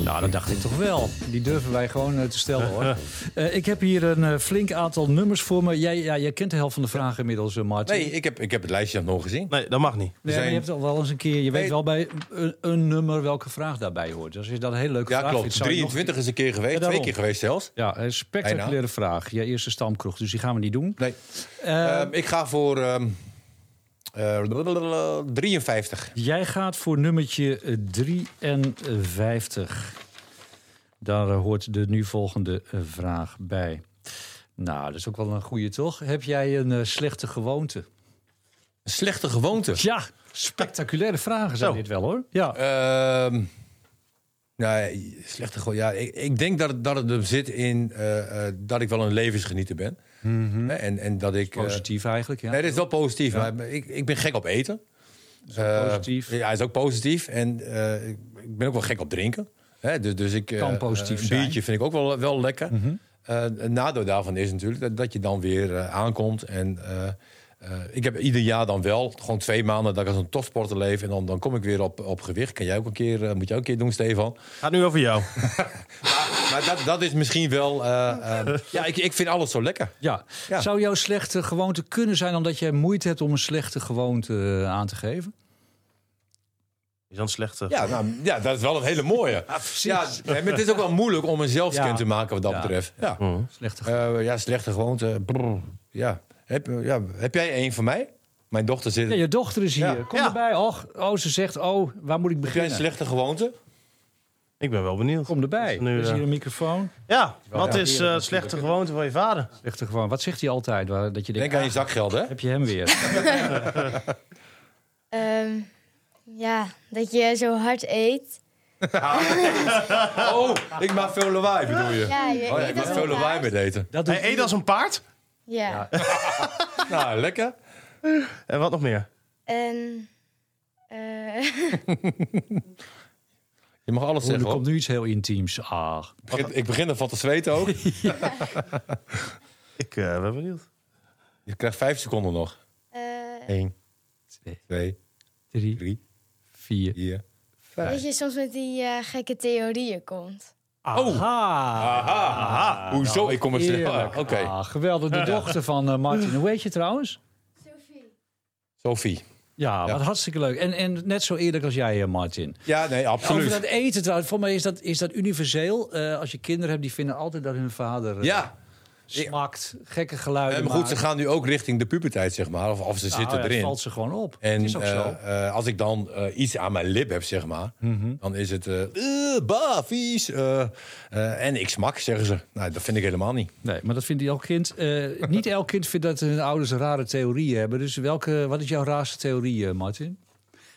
nou dat dacht ik toch wel. Die durven wij gewoon eh, te stellen hoor.
*laughs*
Eh, ik heb hier een eh, flink aantal nummers voor me. Jij, ja, jij kent de helft van de vragen inmiddels, eh, Martin.
Nee, ik heb, ik heb het lijstje nog gezien.
Nee, dat mag niet.
Nee, maar
zijn-
je hebt al wel eens een keer, je weet
Nee.
wel bij een, een nummer welke vraag daarbij hoort. Dus is dat een hele leuke
Ja,
vraag
klopt.
vindt, zou je nog-
23 is een keer
Ja,
geweest.
daarom.
twee keer geweest zelfs.
Ja, een spectaculaire
Bijna.
vraag. Je eerste stamkroeg, dus die gaan we niet doen.
Nee.
Eh,
Ehm, ik ga voor ehm, eh, blablabla, 53.
Jij gaat voor nummertje eh, 53. Daar eh, hoort de nu volgende eh, vraag bij. Nou, dat is ook wel een goede, toch? Heb jij een eh, slechte gewoonte?
Een Slechte gewoonte.
Ja, spectaculaire vragen zijn
Zo.
dit wel, hoor. Ja.
Ehm, nee, slechte gewoonte. Ja, ik, ik denk dat, het- dat het er zit in eh, eh, dat ik wel een levensgenieter ben. Eh, en, en dat ik... eh,
Mhm. Positief eigenlijk, ja.
nee, dat is wel positief. Maar ik, ik ben gek op eten. Eh,
positief.
ja, is ook positief. En eh, ik ik ben ook wel gek op drinken. Hè, dus, dus ik, eh,
Kan positief
een
zijn. Mhm.
biertje vind ik ook wel, wel lekker. Eh, een nadeel daarvan is natuurlijk dat, dat je dan weer eh, aankomt. En eh, eh, ik heb ieder jaar dan wel, gewoon twee maanden, dat ik als een topsporter leef. En dan, dan kom ik weer op, op gewicht. Kan jij ook een keer, eh, moet jij ook een keer doen, Stefan.
Gaat nu over jou.
Maar dat, dat is misschien wel... eh,
*laughs*
eh, ja, ik, ik vind alles zo lekker.
Ja.
Ja.
Zou jouw slechte gewoonte kunnen zijn omdat jij moeite hebt om een slechte gewoonte eh, aan te geven?
Is dan slechter.
Ja, nou, ja, dat is wel een hele mooie. Ah, Ja, nee, maar het is ook wel moeilijk om een zelfscan
Ja.
te maken wat dat
Ja.
betreft. Ja.
Slechte gewoonte.
Eh, ja, slechte gewoonte. Brrr. Ja. Heb, ja. heb jij één van mij? Mijn dochter zit.
Ja, je dochter is hier.
Ja.
Kom
Ja.
erbij. Och, oh, ze zegt, oh, waar moet ik
heb jij een
beginnen?
slechte gewoonte?
Ik ben wel benieuwd.
Kom erbij.
Nu,
Er is
eh,
hier een microfoon.
Ja, wat
ja.
is eh, slechte gewoonte van je vader?
Slechte gewoonte. Wat zegt hij altijd? Waar- Dat je denkt, "Ah,
Denk aan je zakgeld, hè?
Heb je hem
*laughs*
weer?
Ehm, ja, dat je zo hard eet.
Oh, ik maak veel lawaai, bedoel je?
Ja,
Oh,
je
ja,
eet
ik
als
maak
een
veel lawaai
paard.
met eten.
Dat doet
Hij eet als een paard.
Ja.
Nou, lekker.
En wat nog meer?
En eh, *laughs*
Je mag alles
Oh, er
zeggen.
komt
hoor.
nu iets heel intiems. Ah.
Ik begin, ik begin ervan te zweten ook.
Ik eh, ben benieuwd.
Je krijgt vijf seconden nog.
eh,
Eén,
Twee,
twee,
drie,
drie,
vier.
vier.
dat je soms met die eh, gekke theorieën komt.
Aha.
Aha, Hoezo? Oh. Ik kom er snel. Ah,
Heerlijk.
Oké,
Ah, geweldig.
*laughs*
De dochter van eh, Martin. Hoe heet je trouwens?
Sophie.
Sophie.
Ja,
Ja.
wat hartstikke leuk. En, en net zo eerlijk als jij, eh, Martin.
Ja, nee,
Over dat
absoluut.
eten trouwens. Voor mij is dat, is dat universeel. Eh, als je kinderen hebt, die vinden altijd dat hun vader eh,
Ja,
smakt. Gekke geluiden
Eh, maar goed,
maakt.
ze gaan nu ook richting de puberteit, zeg maar. Of, of ze
Nou,
zitten
ja, het
erin.
valt ze gewoon op.
En
het is ook
eh,
zo. Mhm.
eh, als ik dan eh, iets aan mijn lip heb, zeg maar, dan is het eh "Eh, bah, vies. eh, eh, en ik smak, zeggen ze. Nou, dat vind ik helemaal niet.
Nee, maar dat vindt elk kind. eh, niet elk kind vindt dat hun ouders rare theorieën hebben. Dus welke, wat is jouw raarste theorie, eh, Martin?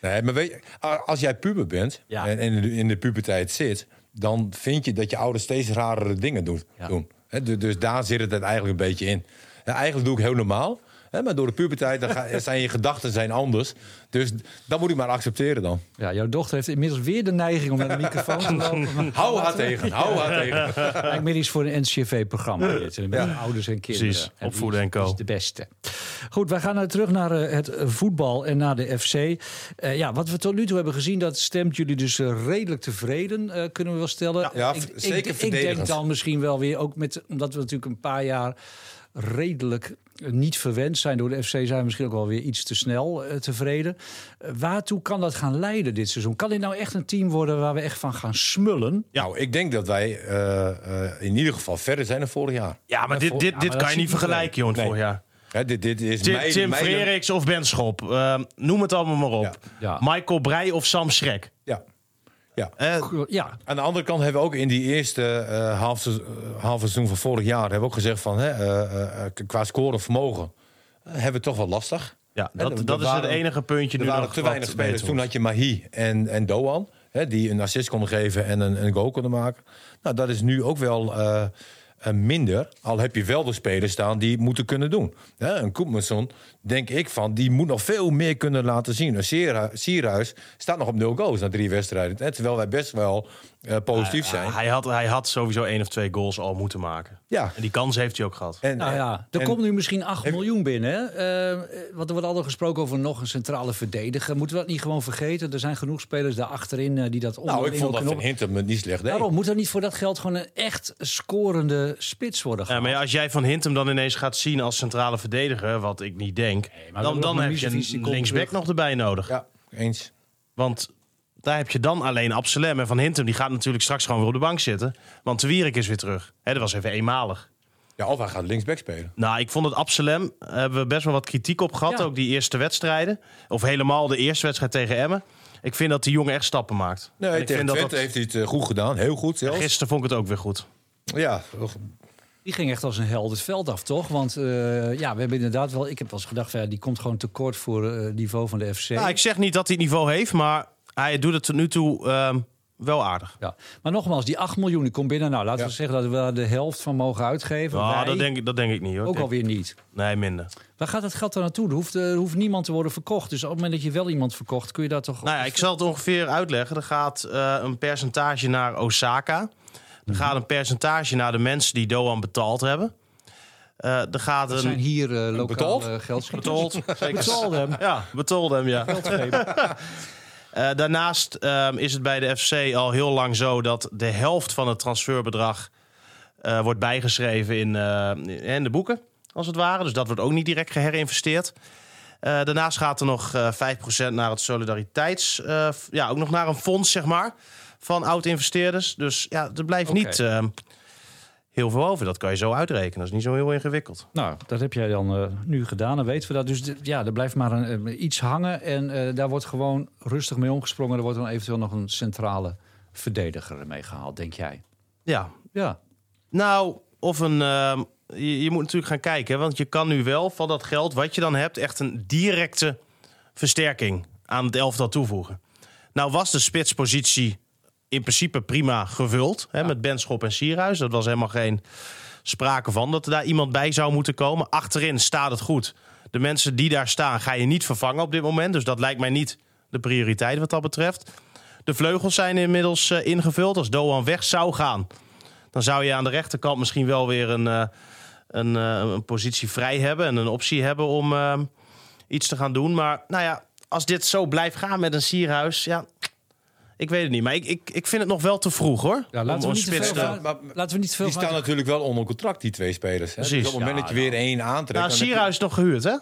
Nee, maar weet je, a- als jij puber bent
Ja.
en, en in de- in de puberteit zit, dan vind je dat je ouders steeds rarere dingen doen. dus
Ja.
doen. Hè, du- dus daar zit het eigenlijk een beetje in. Ja, eigenlijk doe ik heel normaal. Hè, maar door de puberteit dan ga- *laughs* zijn je gedachten zijn anders. Dus dat moet ik maar accepteren dan.
Ja, jouw dochter heeft inmiddels weer de neiging om naar de microfoon *laughs* te lopen. Maar
Hou haar tegen, hou haar tegen.
*laughs*
Eigenlijk meer iets voor een NCV-programma. Ja. Ouders en kinderen.
Precies,
En
opvoeden
wie
en co.
Is de beste. Goed, wij gaan nou terug naar eh, het eh, voetbal en naar de FC. Eh, ja, wat we tot nu toe hebben gezien, dat stemt jullie dus eh, redelijk tevreden, eh, kunnen we wel stellen.
ja, v- zeker
ik, ik denk
verdedigend.
dan misschien wel weer, ook met, omdat we natuurlijk een paar jaar redelijk eh, niet verwend zijn door de FC, zijn we misschien ook wel weer iets te snel eh, tevreden. Eh, waartoe kan dat gaan leiden dit seizoen? Kan dit nou echt een team worden waar we echt van gaan smullen?
Nou, ik denk dat wij eh, eh, in ieder geval verder zijn dan vorig jaar.
Ja, maar dit, dit,
maar
dit
dat
kan je
ziet
niet vergelijken, joh,
Nee.
vorig jaar.
Hè, dit, dit is
Tim,
mijn-
Tim
mijn-
Frederiks of Ben Schop. eh, noem het allemaal maar op.
Ja.
Michael Breij of Sam Schrek.
Ja. ja.
Eh,
Ja,
Aan de andere kant hebben we ook in die eerste eh half, seiz- eh, half seizoen van vorig jaar... hebben we ook gezegd van, hè, eh, eh, eh, qua scoren vermogen... eh, hebben we het toch wel lastig.
ja,
Hè,
dat,
er
dat is
waren-
het enige puntje
Er
nu
waren
nog
te
wat
weinig spelers.
beter
Toen
wordt.
had je Mahi en, en Doan. Hè, die een assist konden geven en een, een goal konden maken. Nou, dat is nu ook wel eh, eh, minder. Al heb je wel de spelers staan die het moeten kunnen doen. Hè, een Koepmanson, denk ik van, die moet nog veel meer kunnen laten zien. Een Sierra- Sierhuis staat nog op nul goals na drie wedstrijden. Hè, terwijl wij best wel eh, positief zijn.
Hij had, hij had sowieso één of twee goals al moeten maken.
Ja.
En die kans heeft hij ook gehad.
En,
Nou ja, er
Eh, en-
komt nu misschien 8 miljoen binnen. Hè? Eh, want er wordt altijd gesproken over nog een centrale verdediger. Moeten we dat niet gewoon vergeten? Er zijn genoeg spelers daar achterin eh, die dat
nou, ik
onderling
vond
ook
dat
kunnen
Van Hintem het niet slecht deed.
Daarom moet er niet voor dat geld gewoon een echt scorende spits worden
Ja,
gehaald.
Eh, maar ja, als jij Van Hintem dan ineens gaat zien als centrale verdediger, wat ik niet denk,
maar
dan,
we
dan
hebben
heb
nog
je
Misevic, die
een
komt
linksback
terug.
nog erbij nodig.
Ja, eens.
Want daar heb je dan alleen Absalem. En Van Hintem die gaat natuurlijk straks gewoon weer op de bank zitten. Want de Wierik is weer terug. Hè, dat was even eenmalig.
Ja, of hij gaat linksback spelen.
Nou, ik vond het Absalem. Daar hebben we best wel wat kritiek op gehad.
Ja.
Ook die eerste wedstrijden. Of helemaal de eerste wedstrijd tegen Emmen. Ik vind dat die jongen echt stappen maakt. En
Nee,
ik
tegen
vind dat
Twente heeft
dat-
hij het eh, goed gedaan. Heel goed zelfs.
Gisteren vond ik het ook weer goed.
Ja,
Die ging echt als een held het veld af, toch? Want eh, ja, we hebben inderdaad wel... Ik heb wel eens gedacht, van, ja, die komt gewoon tekort voor eh, het niveau van de FC.
Nou, ik zeg niet dat hij het niveau heeft, maar hij doet het tot nu toe ehm, wel aardig.
ja. Maar nogmaals, die 8 miljoen die komt binnen. Nou, laten
Ja.
we zeggen dat we daar de helft van mogen uitgeven.
Nou,
Wij
dat, denk ik, dat denk ik niet hoor.
ook
Ik-
alweer niet.
Nee, minder.
Waar gaat dat geld dan naartoe? Er hoeft, eh, er hoeft niemand te worden verkocht. Dus op het moment dat je wel iemand verkocht, kun je daar toch...
Nou ja, ik zal het ongeveer uitleggen. Er gaat eh, een percentage naar Osaka.
Mhm.
Er gaat een percentage naar de mensen die Doan betaald hebben. Eh, er gaat
Dat zijn
een...
hier eh,
betold?
lokale geldschieters.
Betold, zeker.
Betold hem.
Ja, betold hem, ja.
*laughs*
Eh, daarnaast ehm, is het bij de FC al heel lang zo dat de helft van het transferbedrag eh, wordt bijgeschreven in, eh, in de boeken, als het ware. Dus dat wordt ook niet direct geherinvesteerd. Eh, daarnaast gaat er nog eh 5% naar het solidariteits... eh, f- ja, ook nog naar een fonds, zeg maar, van oud-investeerders. Dus ja, er blijft
Oké.
niet ehm, heel veel over. Dat kan je zo uitrekenen. Dat is niet zo heel ingewikkeld.
Nou, dat heb jij dan eh, nu gedaan, dan weten we dat. Dus d- ja, er blijft maar een, eh, iets hangen en eh, daar wordt gewoon rustig mee omgesprongen. Er wordt dan eventueel nog een centrale verdediger mee gehaald, denk jij?
Ja,
Ja,
Nou, of een. ehm, je, je moet natuurlijk gaan kijken. hè, Want je kan nu wel van dat geld wat je dan hebt. echt een directe versterking aan het elftal toevoegen. Nou, was de spitspositie in principe prima gevuld. Hè, Met Benschop en Sierhuis. Dat was helemaal geen sprake van dat er daar iemand bij zou moeten komen. Achterin staat het goed. De mensen die daar staan ga je niet vervangen op dit moment. Dus dat lijkt mij niet de prioriteit wat dat betreft. De vleugels zijn inmiddels eh, ingevuld. Als Doan weg zou gaan, dan zou je aan de rechterkant misschien wel weer een, eh, een, eh, een positie vrij hebben en een optie hebben om eh, iets te gaan doen. Maar nou ja, als dit zo blijft gaan met een sierhuis, ja, ik weet het niet. Maar ik, ik, ik vind het nog wel te vroeg hoor.
ja laten,
om
we
een
niet te
spits
veel
te-
van-
Maar-
laten we niet te veel
die staan
van-
natuurlijk wel onder contract, die twee spelers. Hè? Dus
Precies.
op het moment dat je weer één aantrekt...
Nou,
dan heb je-
Sierhuis is nog gehuurd hè?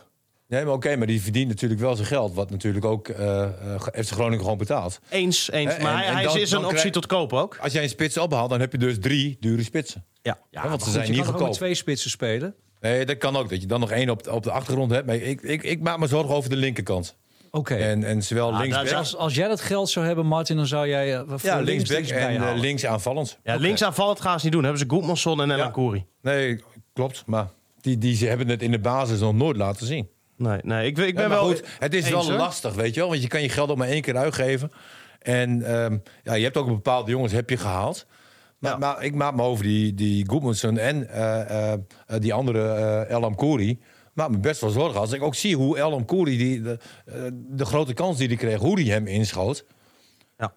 Nee, maar oké, maar die verdient natuurlijk wel zijn geld. Wat natuurlijk ook eh eh, heeft Groningen gewoon betaald.
Eens, eens.
Hè,
maar
Eh, en-
hij,
en
hij
dan-
is een
dan
optie
krijg-
tot koop ook.
Als jij een spits ophaalt, dan heb je dus drie dure spitsen.
Ja.
Ja,
Hè, want
maar
ze
goed,
zijn
je
niet
kan toch ook met
goedkoop.
twee spitsen spelen.
Nee, dat kan ook. Dat je dan nog één op, op de achtergrond hebt. Maar ik, ik, ik maak me zorgen over de linkerkant.
Oké.
En, en zowel linksback,
Dus als, als jij dat geld zou hebben, Martin, dan zou jij eh, voor
ja, linksback
links
en eh,
bijhouden.
links aanvallend.
Ja, Links aanvallend gaan ze niet doen. Dan hebben ze Goedmanson en Elan Kouri.
Nee, klopt. Maar die, die ze hebben het in de basis nog nooit laten zien.
Nee, nee. Ik, ik ben
Ja, maar
wel.
goed, het is
eens,
wel
hoor.
lastig, weet je wel. Want je kan je geld ook maar één keer uitgeven. En ehm, ja, je hebt ook bepaalde jongens heb je gehaald. Maar,
Ja.
maar ik maak me over die, die Goodmanson en eh, eh, die andere eh El Amkouri. Maak me best wel zorgen. Als ik ook zie hoe El Amkouri, die, de, eh, de grote kans die hij kreeg, hoe hij hem inschoot.
Ja.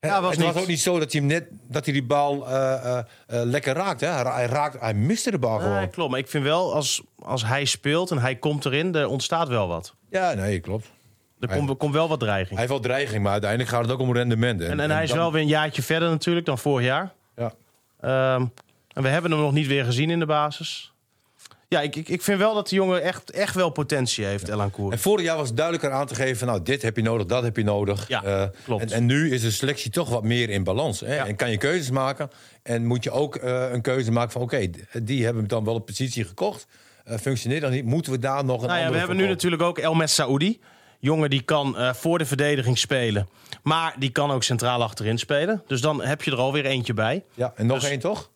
Hè,
Ja, was
het
niet-
was ook niet zo dat hij, hem net, dat hij die bal eh, eh, eh, lekker raakt, hè. Hij, ra- hij raakt. Hij miste de bal
Nee,
gewoon.
klopt. Maar ik vind wel, als, als hij speelt en hij komt erin, er ontstaat wel wat.
Ja, nee, klopt.
Er
Hij-
komt komt wel wat dreiging.
Hij heeft wel dreiging, maar uiteindelijk gaat het ook om rendement.
en, en hij is
dan-
wel weer een jaartje verder natuurlijk dan vorig jaar.
Ja.
Ehm, en we hebben hem nog niet weer gezien in de basis. Ja, ik, ik, ik vind wel dat die jongen echt, echt wel potentie heeft, Elan Koer.
En vorig jaar was het duidelijker aan te geven: van, nou, dit heb je nodig, dat heb je nodig.
Ja,
Eh,
klopt.
En, en nu is de selectie toch wat meer in balans. Hè?
Ja.
En kan je keuzes maken. En moet je ook eh, een keuze maken van: oké, d- die hebben we dan wel op positie gekocht. Eh, functioneert dan niet? Moeten we daar nog een
Nou ja,
andere
we hebben nu
voor kopen?
natuurlijk ook El Saoudi. Jongen die kan eh, voor de verdediging spelen. Maar die kan ook centraal achterin spelen. Dus dan heb je er alweer eentje bij.
Ja, en nog
dus-
één toch?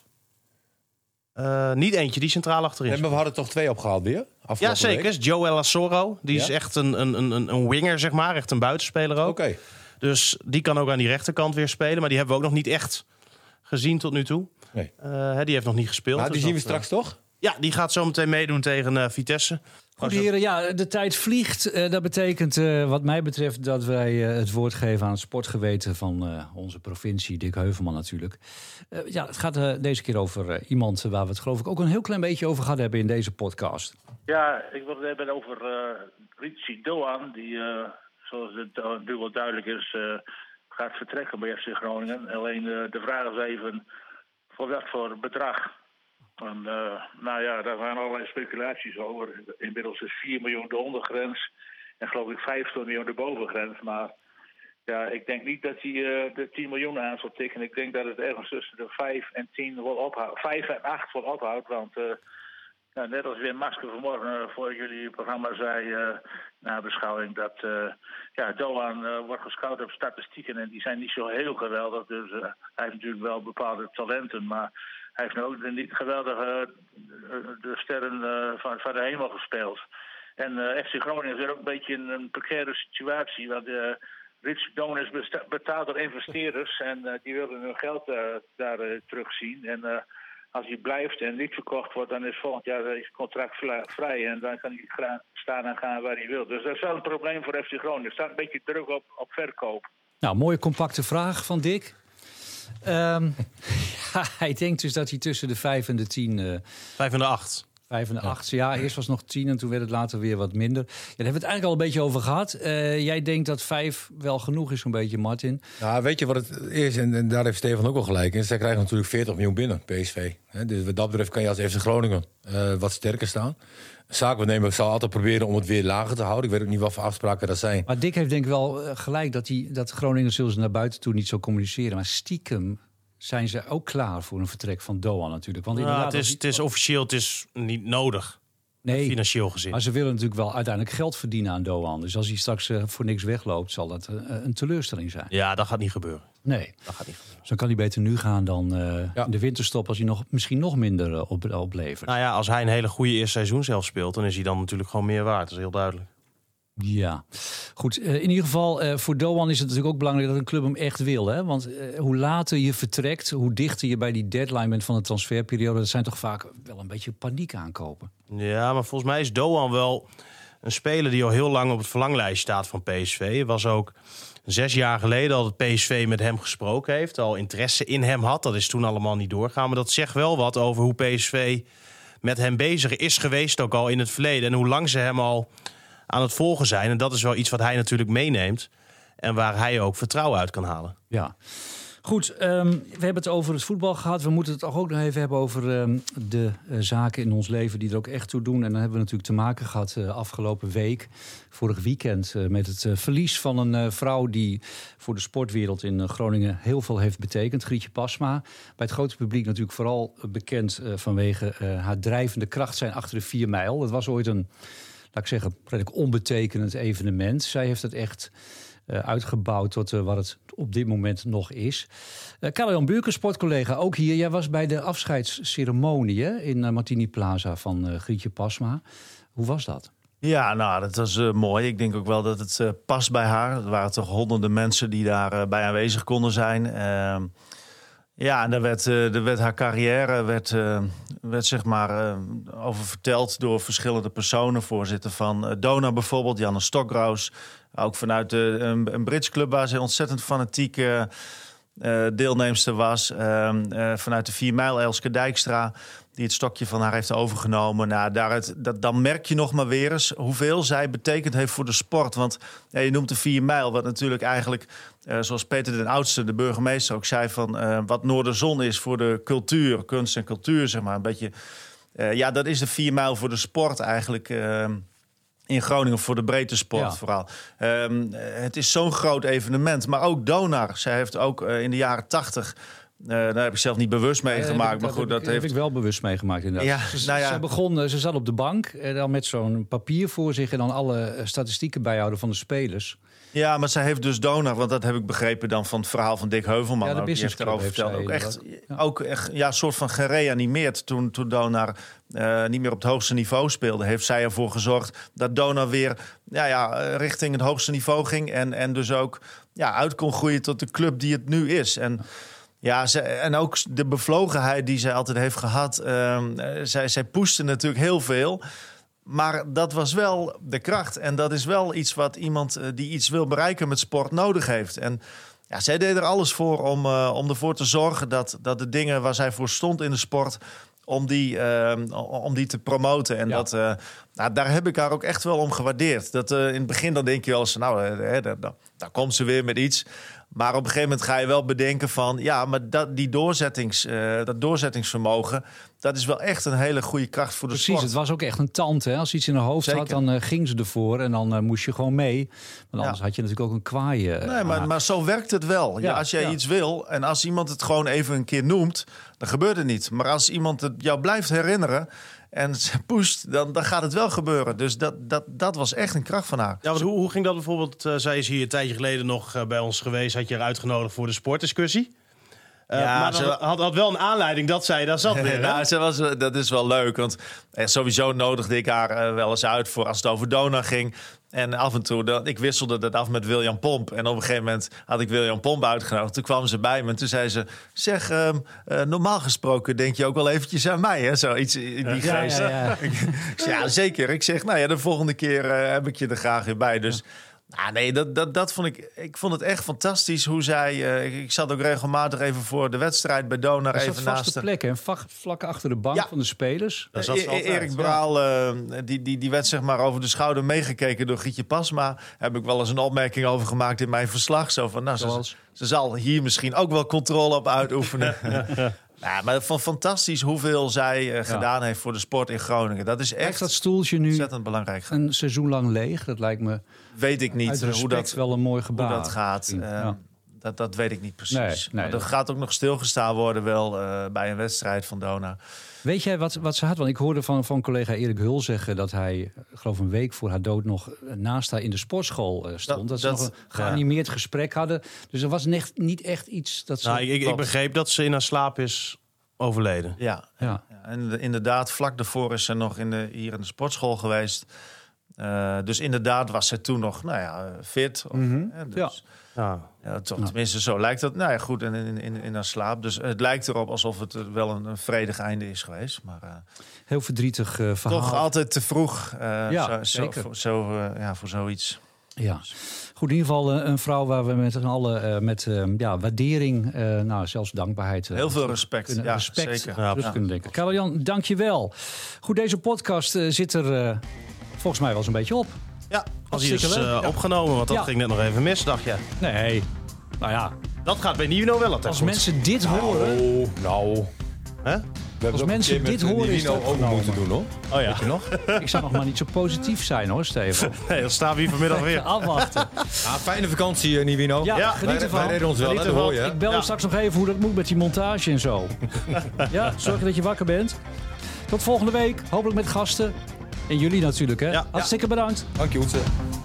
Eh, niet eentje die centraal achterin
Nee,
speelt.
maar we hadden toch twee opgehaald weer?
Ja,
afgelopen
zeker.
week?
Is Joel Asoro. Die
Ja.
is echt een, een, een- een, een winger, zeg maar. Echt een buitenspeler ook.
Oké.
Dus die kan ook aan die rechterkant weer spelen. Maar die hebben we ook nog niet echt gezien tot nu toe.
Nee.
Eh, hè, die heeft nog niet gespeeld.
Maar Nou, die
dus
zien we
dat,
straks toch?
eh, Ja, die gaat zo meteen meedoen tegen eh, Vitesse.
Goed, heren, ja, de tijd vliegt. Eh, dat betekent, eh, wat mij betreft, dat wij eh, het woord geven aan het sportgeweten van eh, onze provincie, Dick Heuvelman natuurlijk. Eh, ja, het gaat eh, deze keer over eh, iemand waar we het geloof ik ook een heel klein beetje over gehad hebben in deze podcast.
Ja, ik wil het hebben over eh Ritsi Doan, die, eh, zoals het eh, nu wel duidelijk is, eh, gaat vertrekken bij FC Groningen. Alleen eh, de vraag is even, voor wat voor bedrag? En, eh, nou ja, daar waren allerlei speculaties over. Inmiddels is 4 miljoen de ondergrens en geloof ik 15 miljoen de bovengrens. Maar ja, ik denk niet dat hij eh, de 10 miljoen aan zal tikken. Ik denk dat het ergens tussen de 5 en 10 wel ophoudt. 5 en 8 wel ophoudt, want... eh, nou, net als Wim Maske vanmorgen eh, voor jullie programma zei eh, na beschouwing dat eh, ja, Doan eh, wordt gescout op statistieken en die zijn niet zo heel geweldig. Dus eh, hij heeft natuurlijk wel bepaalde talenten, maar hij heeft nou ook de niet geweldige eh, de sterren eh, van, van de hemel gespeeld. En eh, FC Groningen is weer ook een beetje in een precaire situatie, want eh Rich Doan is besta- betaald door investeerders en eh, die willen hun geld eh, daar eh, terugzien. En, eh, als hij blijft en niet verkocht wordt, dan is volgend jaar het contract vla- vrij. En dan kan hij gra- staan en gaan waar hij wil. Dus dat is wel een probleem voor FC Groningen. Er staat een beetje druk op, op verkoop.
Nou, mooie compacte vraag van Dick. Ehm, *laughs* ja, hij denkt dus dat hij tussen de 5 en de 10 eh,
Vijf en de acht.
Vijf en de acht. Ja, eerst was het nog tien en toen werd het later weer wat minder. Ja, daar hebben we het eigenlijk al een beetje over gehad. Eh, jij denkt dat vijf wel genoeg is, zo'n beetje, Martin.
Nou, weet je wat het is? En, en daar heeft Stefan ook wel gelijk in. Zij krijgen natuurlijk 40 miljoen binnen, PSV. Hè, dus wat dat betreft kan je als FC Groningen eh, wat sterker staan. Zaakwaarnemer zal altijd proberen om het weer lager te houden. Ik weet ook niet wat voor afspraken dat zijn.
Maar Dick heeft denk ik wel eh, gelijk dat, die, dat Groningen zullen ze naar buiten toe niet zo communiceren. Maar stiekem zijn ze ook klaar voor een vertrek van Doan natuurlijk. Want
Ja,
inderdaad,
Nou, het, is,
als-
het is officieel het is niet nodig,
nee,
financieel gezien.
maar ze willen natuurlijk wel uiteindelijk geld verdienen aan Doan. Dus als hij straks eh, voor niks wegloopt, zal dat eh, een teleurstelling zijn.
Ja, dat gaat niet gebeuren.
Nee,
Dat gaat niet gebeuren.
zo kan hij beter nu gaan dan eh,
Ja.
in de winterstop als hij nog, misschien nog minder eh, op, oplevert.
Nou ja, als hij een hele goede eerste seizoen zelf speelt, dan is hij dan natuurlijk gewoon meer waard. Dat is heel duidelijk.
Ja, goed. eh, in ieder geval, eh, voor Doan is het natuurlijk ook belangrijk dat een club hem echt wil. Hè? Want eh, hoe later je vertrekt, hoe dichter je bij die deadline bent van de transferperiode, dat zijn toch vaak wel een beetje paniek aankopen.
Ja, maar volgens mij is Doan wel een speler die al heel lang op het verlanglijst staat van PSV. Er was ook zes jaar geleden al dat PSV met hem gesproken heeft, al interesse in hem had. Dat is toen allemaal niet doorgaan. Maar dat zegt wel wat over hoe PSV met hem bezig is geweest ook al in het verleden. En hoe lang ze hem al aan het volgen zijn. En dat is wel iets wat hij natuurlijk meeneemt. En waar hij ook vertrouwen uit kan halen.
Ja. Goed, ehm, we hebben het over het voetbal gehad. We moeten het toch ook nog even hebben over ehm, de eh, zaken in ons leven die er ook echt toe doen. En dan hebben we natuurlijk te maken gehad eh, afgelopen week, vorig weekend, eh, met het eh, verlies van een eh, vrouw die voor de sportwereld in eh, Groningen heel veel heeft betekend, Grietje Pasma. Bij het grote publiek natuurlijk vooral eh, bekend eh, vanwege eh, haar drijvende kracht zijn achter de 4 mijl. Het was ooit een, laat ik zeggen, redelijk onbetekenend evenement. Zij heeft het echt eh, uitgebouwd tot eh, wat het op dit moment nog is. Eh Karel-Jan Buurken, sportcollega, ook hier. Jij was bij de afscheidsceremonie hè, in eh, Martini Plaza van eh, Grietje Pasma. Hoe was dat?
Ja, nou, dat was eh, mooi. Ik denk ook wel dat het eh, past bij haar. Er waren toch honderden mensen die daar eh, bij aanwezig konden zijn. Ehm, Ja, en daar werd, eh, er werd haar carrière werd, eh, werd zeg maar, eh, over verteld door verschillende personen. Voorzitter van eh, Dona bijvoorbeeld, Janne Stokgraus. Ook vanuit de, een, een Brits club waar zij ontzettend fanatiek eh, eh, deelnemster was. Ehm, eh, vanuit de 4 mijl Elske Dijkstra, die het stokje van haar heeft overgenomen. Nou, daaruit, dat, dan merk je nog maar weer eens hoeveel zij betekend heeft voor de sport. Want ja, je noemt de 4 mijl, wat natuurlijk eigenlijk, eh, zoals Peter den Oudste, de burgemeester, ook zei van eh, wat Noorderzon is voor de cultuur, kunst en cultuur, zeg maar. Een beetje, eh, ja, dat is de 4 mijl voor de sport eigenlijk. ehm, in Groningen voor de breedte sport
Ja.
vooral. Ehm, het is zo'n groot evenement. Maar ook Donar. Zij heeft ook eh, in de jaren tachtig... eh, daar heb ik zelf niet bewust
Eh, heb
meegemaakt.
ik-
Maar goed,
heb
dat
ik-
heeft
heb ik wel bewust meegemaakt inderdaad.
Ja,
ze,
nou ja.
ze, begon, eh, ze zat op de bank en dan met zo'n papier voor zich... en dan alle eh, statistieken bijhouden van de spelers.
Ja, maar zij heeft dus donor, want dat heb ik begrepen dan van het verhaal van Dick Heuvelman.
Ja, de
ook, die heeft
business
erover
club
verteld. Ook
heeft
echt,
zij
ook echt, ja, soort van gereanimeerd toen, toen Donar eh, niet meer op het hoogste niveau speelde. Heeft zij ervoor gezorgd dat Donar weer ja, ja, eh, richting het hoogste niveau ging. En, en dus ook ja, uit kon groeien tot de club die het nu is. En ja, ze, en ook de bevlogenheid die zij altijd heeft gehad. ehm, eh, zij, zij pushte natuurlijk heel veel. Maar dat was wel de kracht. En dat is wel iets wat iemand eh, die iets wil bereiken met sport nodig heeft. En ja, zij deed er alles voor om, eh, om ervoor te zorgen dat, dat de dingen waar zij voor stond in de sport. Om die, eh, om die te promoten. En
Ja.
dat, eh, nou, daar heb ik haar ook echt wel om gewaardeerd. Dat, eh, in het begin dan denk je wel eens, nou, eh, hè, daar, daar- daar komt ze weer met iets. Maar op een gegeven moment ga je wel bedenken van... ja, maar dat, die doorzettings, eh, dat doorzettingsvermogen... dat is wel echt een hele goede kracht voor de
Precies,
sport.
het was ook echt een tand. Hè? Als ze iets in haar hoofd had,
Zeker.
dan eh, ging ze ervoor... en dan eh, moest je gewoon mee. Want anders had je natuurlijk ook een kwaai. eh,
Nee, maar,
aan.
maar zo werkt het wel. Ja,
Ja,
als jij
ja.
iets wil en als iemand het gewoon even een keer noemt, dan gebeurt het niet. Maar als iemand het jou blijft herinneren en ze *laughs* pusht, dan, dan gaat het wel gebeuren. Dus dat, dat, dat was echt een kracht van haar.
Ja, want hoe, hoe ging dat bijvoorbeeld? eh, zij is hier een tijdje geleden nog eh, bij ons geweest. Had je haar uitgenodigd voor de sportdiscussie. Eh,
Ja,
maar dat
ze-
had, had wel een aanleiding dat zij daar
*laughs*
zat weer. hè?
Ja, Nou, ze was, dat is wel leuk, want eh, sowieso nodigde ik haar eh, wel eens uit voor als het over Dona ging. En af en toe, dat, ik wisselde dat af met William Pomp. En op een gegeven moment had ik William Pomp uitgenodigd. Toen kwam ze bij me en toen zei ze... Zeg, ehm, eh, normaal gesproken denk je ook wel eventjes aan mij, hè? Zoiets in die
ja,
geest.
ja, ja.
*laughs* Ik zeg, ja, zeker. Ik zeg, nou ja, de volgende keer eh, heb ik je er graag weer bij. Dus nou, nee, dat, dat, dat vond ik... Ik vond het echt fantastisch hoe zij... eh, ik, ik zat ook regelmatig even voor de wedstrijd bij Donar
Er zat
even naast
vaste
haar.
plekken en vlak, vlak achter de bank
Ja.
van de spelers.
Daar zat
E-
ze altijd.
Erik Braal, eh, die, die, die werd zeg maar over de schouder meegekeken door Gietje Pasma. Heb ik wel eens een opmerking over gemaakt in mijn verslag. Zo van, nou, ze,
Zoals?
ze zal hier misschien ook wel controle op
*laughs*
uitoefenen. Ja, maar van fantastisch hoeveel zij eh, gedaan heeft voor de sport in Groningen. Dat is
Echt dat
echt
stoeltje nu
ontzettend belangrijk.
een seizoen lang leeg. Dat lijkt me
Weet ik
uit
niet dus
respect
hoe dat,
wel een mooi
hoe
gebaar.
dat gaat.
Ja.
Eh, dat, dat weet ik niet precies.
Nee, nee,
maar er
dat-
gaat ook nog stilgestaan worden wel eh, bij een wedstrijd van Dona.
Weet jij wat, wat ze had? Want ik hoorde van, van collega Erik Hul zeggen dat hij, ik geloof een week voor haar dood, nog eh, naast haar in de sportschool eh, stond. Dat,
Dat-
ze
dat-
nog een geanimeerd gesprek hadden. Dus er was nech- niet echt iets dat ze.
Nou, ik, ik, ik begreep dat ze in haar slaap is overleden.
Ja,
ja.
Ja, en de- inderdaad, vlak daarvoor is ze nog in de, hier in de sportschool geweest. Eh, dus inderdaad was ze toen nog, nou ja, eh, fit. Of, hè, dus,
Ja.
ja. toch, tenminste, zo lijkt dat. Nou ja, goed, en in, in, in haar slaap. Dus het lijkt erop alsof het eh, wel een, een vredig einde is geweest. Maar eh,
Heel verdrietig eh, verhaal.
toch altijd te vroeg eh,
Ja,
zo, zo-
zeker.
voor, zo, eh, ja, voor zoiets.
Ja. Goed, in ieder geval eh, een vrouw waar we met z'n allen eh, met eh, ja, waardering, eh, nou, zelfs dankbaarheid. eh,
Heel veel respect.
kunnen,
Ja,
respect
zeker.
terug
Ja.
kunnen denken. Karel-Jan, dank je wel. Goed, deze podcast eh, zit er eh, volgens mij wel eens een beetje op.
Ja,
Als hij is
Hartstikke
eh,
leuk, ja.
opgenomen, want dat
Ja.
ging net nog even mis, dacht je.
Nee, nou ja,
Dat gaat bij Nino wel altijd
als
goed.
mensen dit horen...
Oh, nou.
Hè?
We hebben ook
mensen
een keer
dit
met eh,
horen, is
Nivino
het
ook
opgenomen.
moeten doen, hoor.
Oh ja,
Ik zou nog maar niet zo positief zijn hoor, Steven.
nee, dan staan we hier vanmiddag weer.
*laughs* Afwachten.
Ah, fijne vakantie, eh, Nivino.
Ja,
Ja,
geniet
wij,
ervan.
wij redden ons wel, hè,
Geniet
dat hoor je.
ervan.
hè?
Ik bel
Ja.
straks nog even hoe dat moet met die montage en zo. ja, zorg dat je wakker bent. Tot volgende week. Hopelijk met gasten. En jullie natuurlijk, hè?
Ja.
Hartstikke bedankt.
Dank je, Hoetse.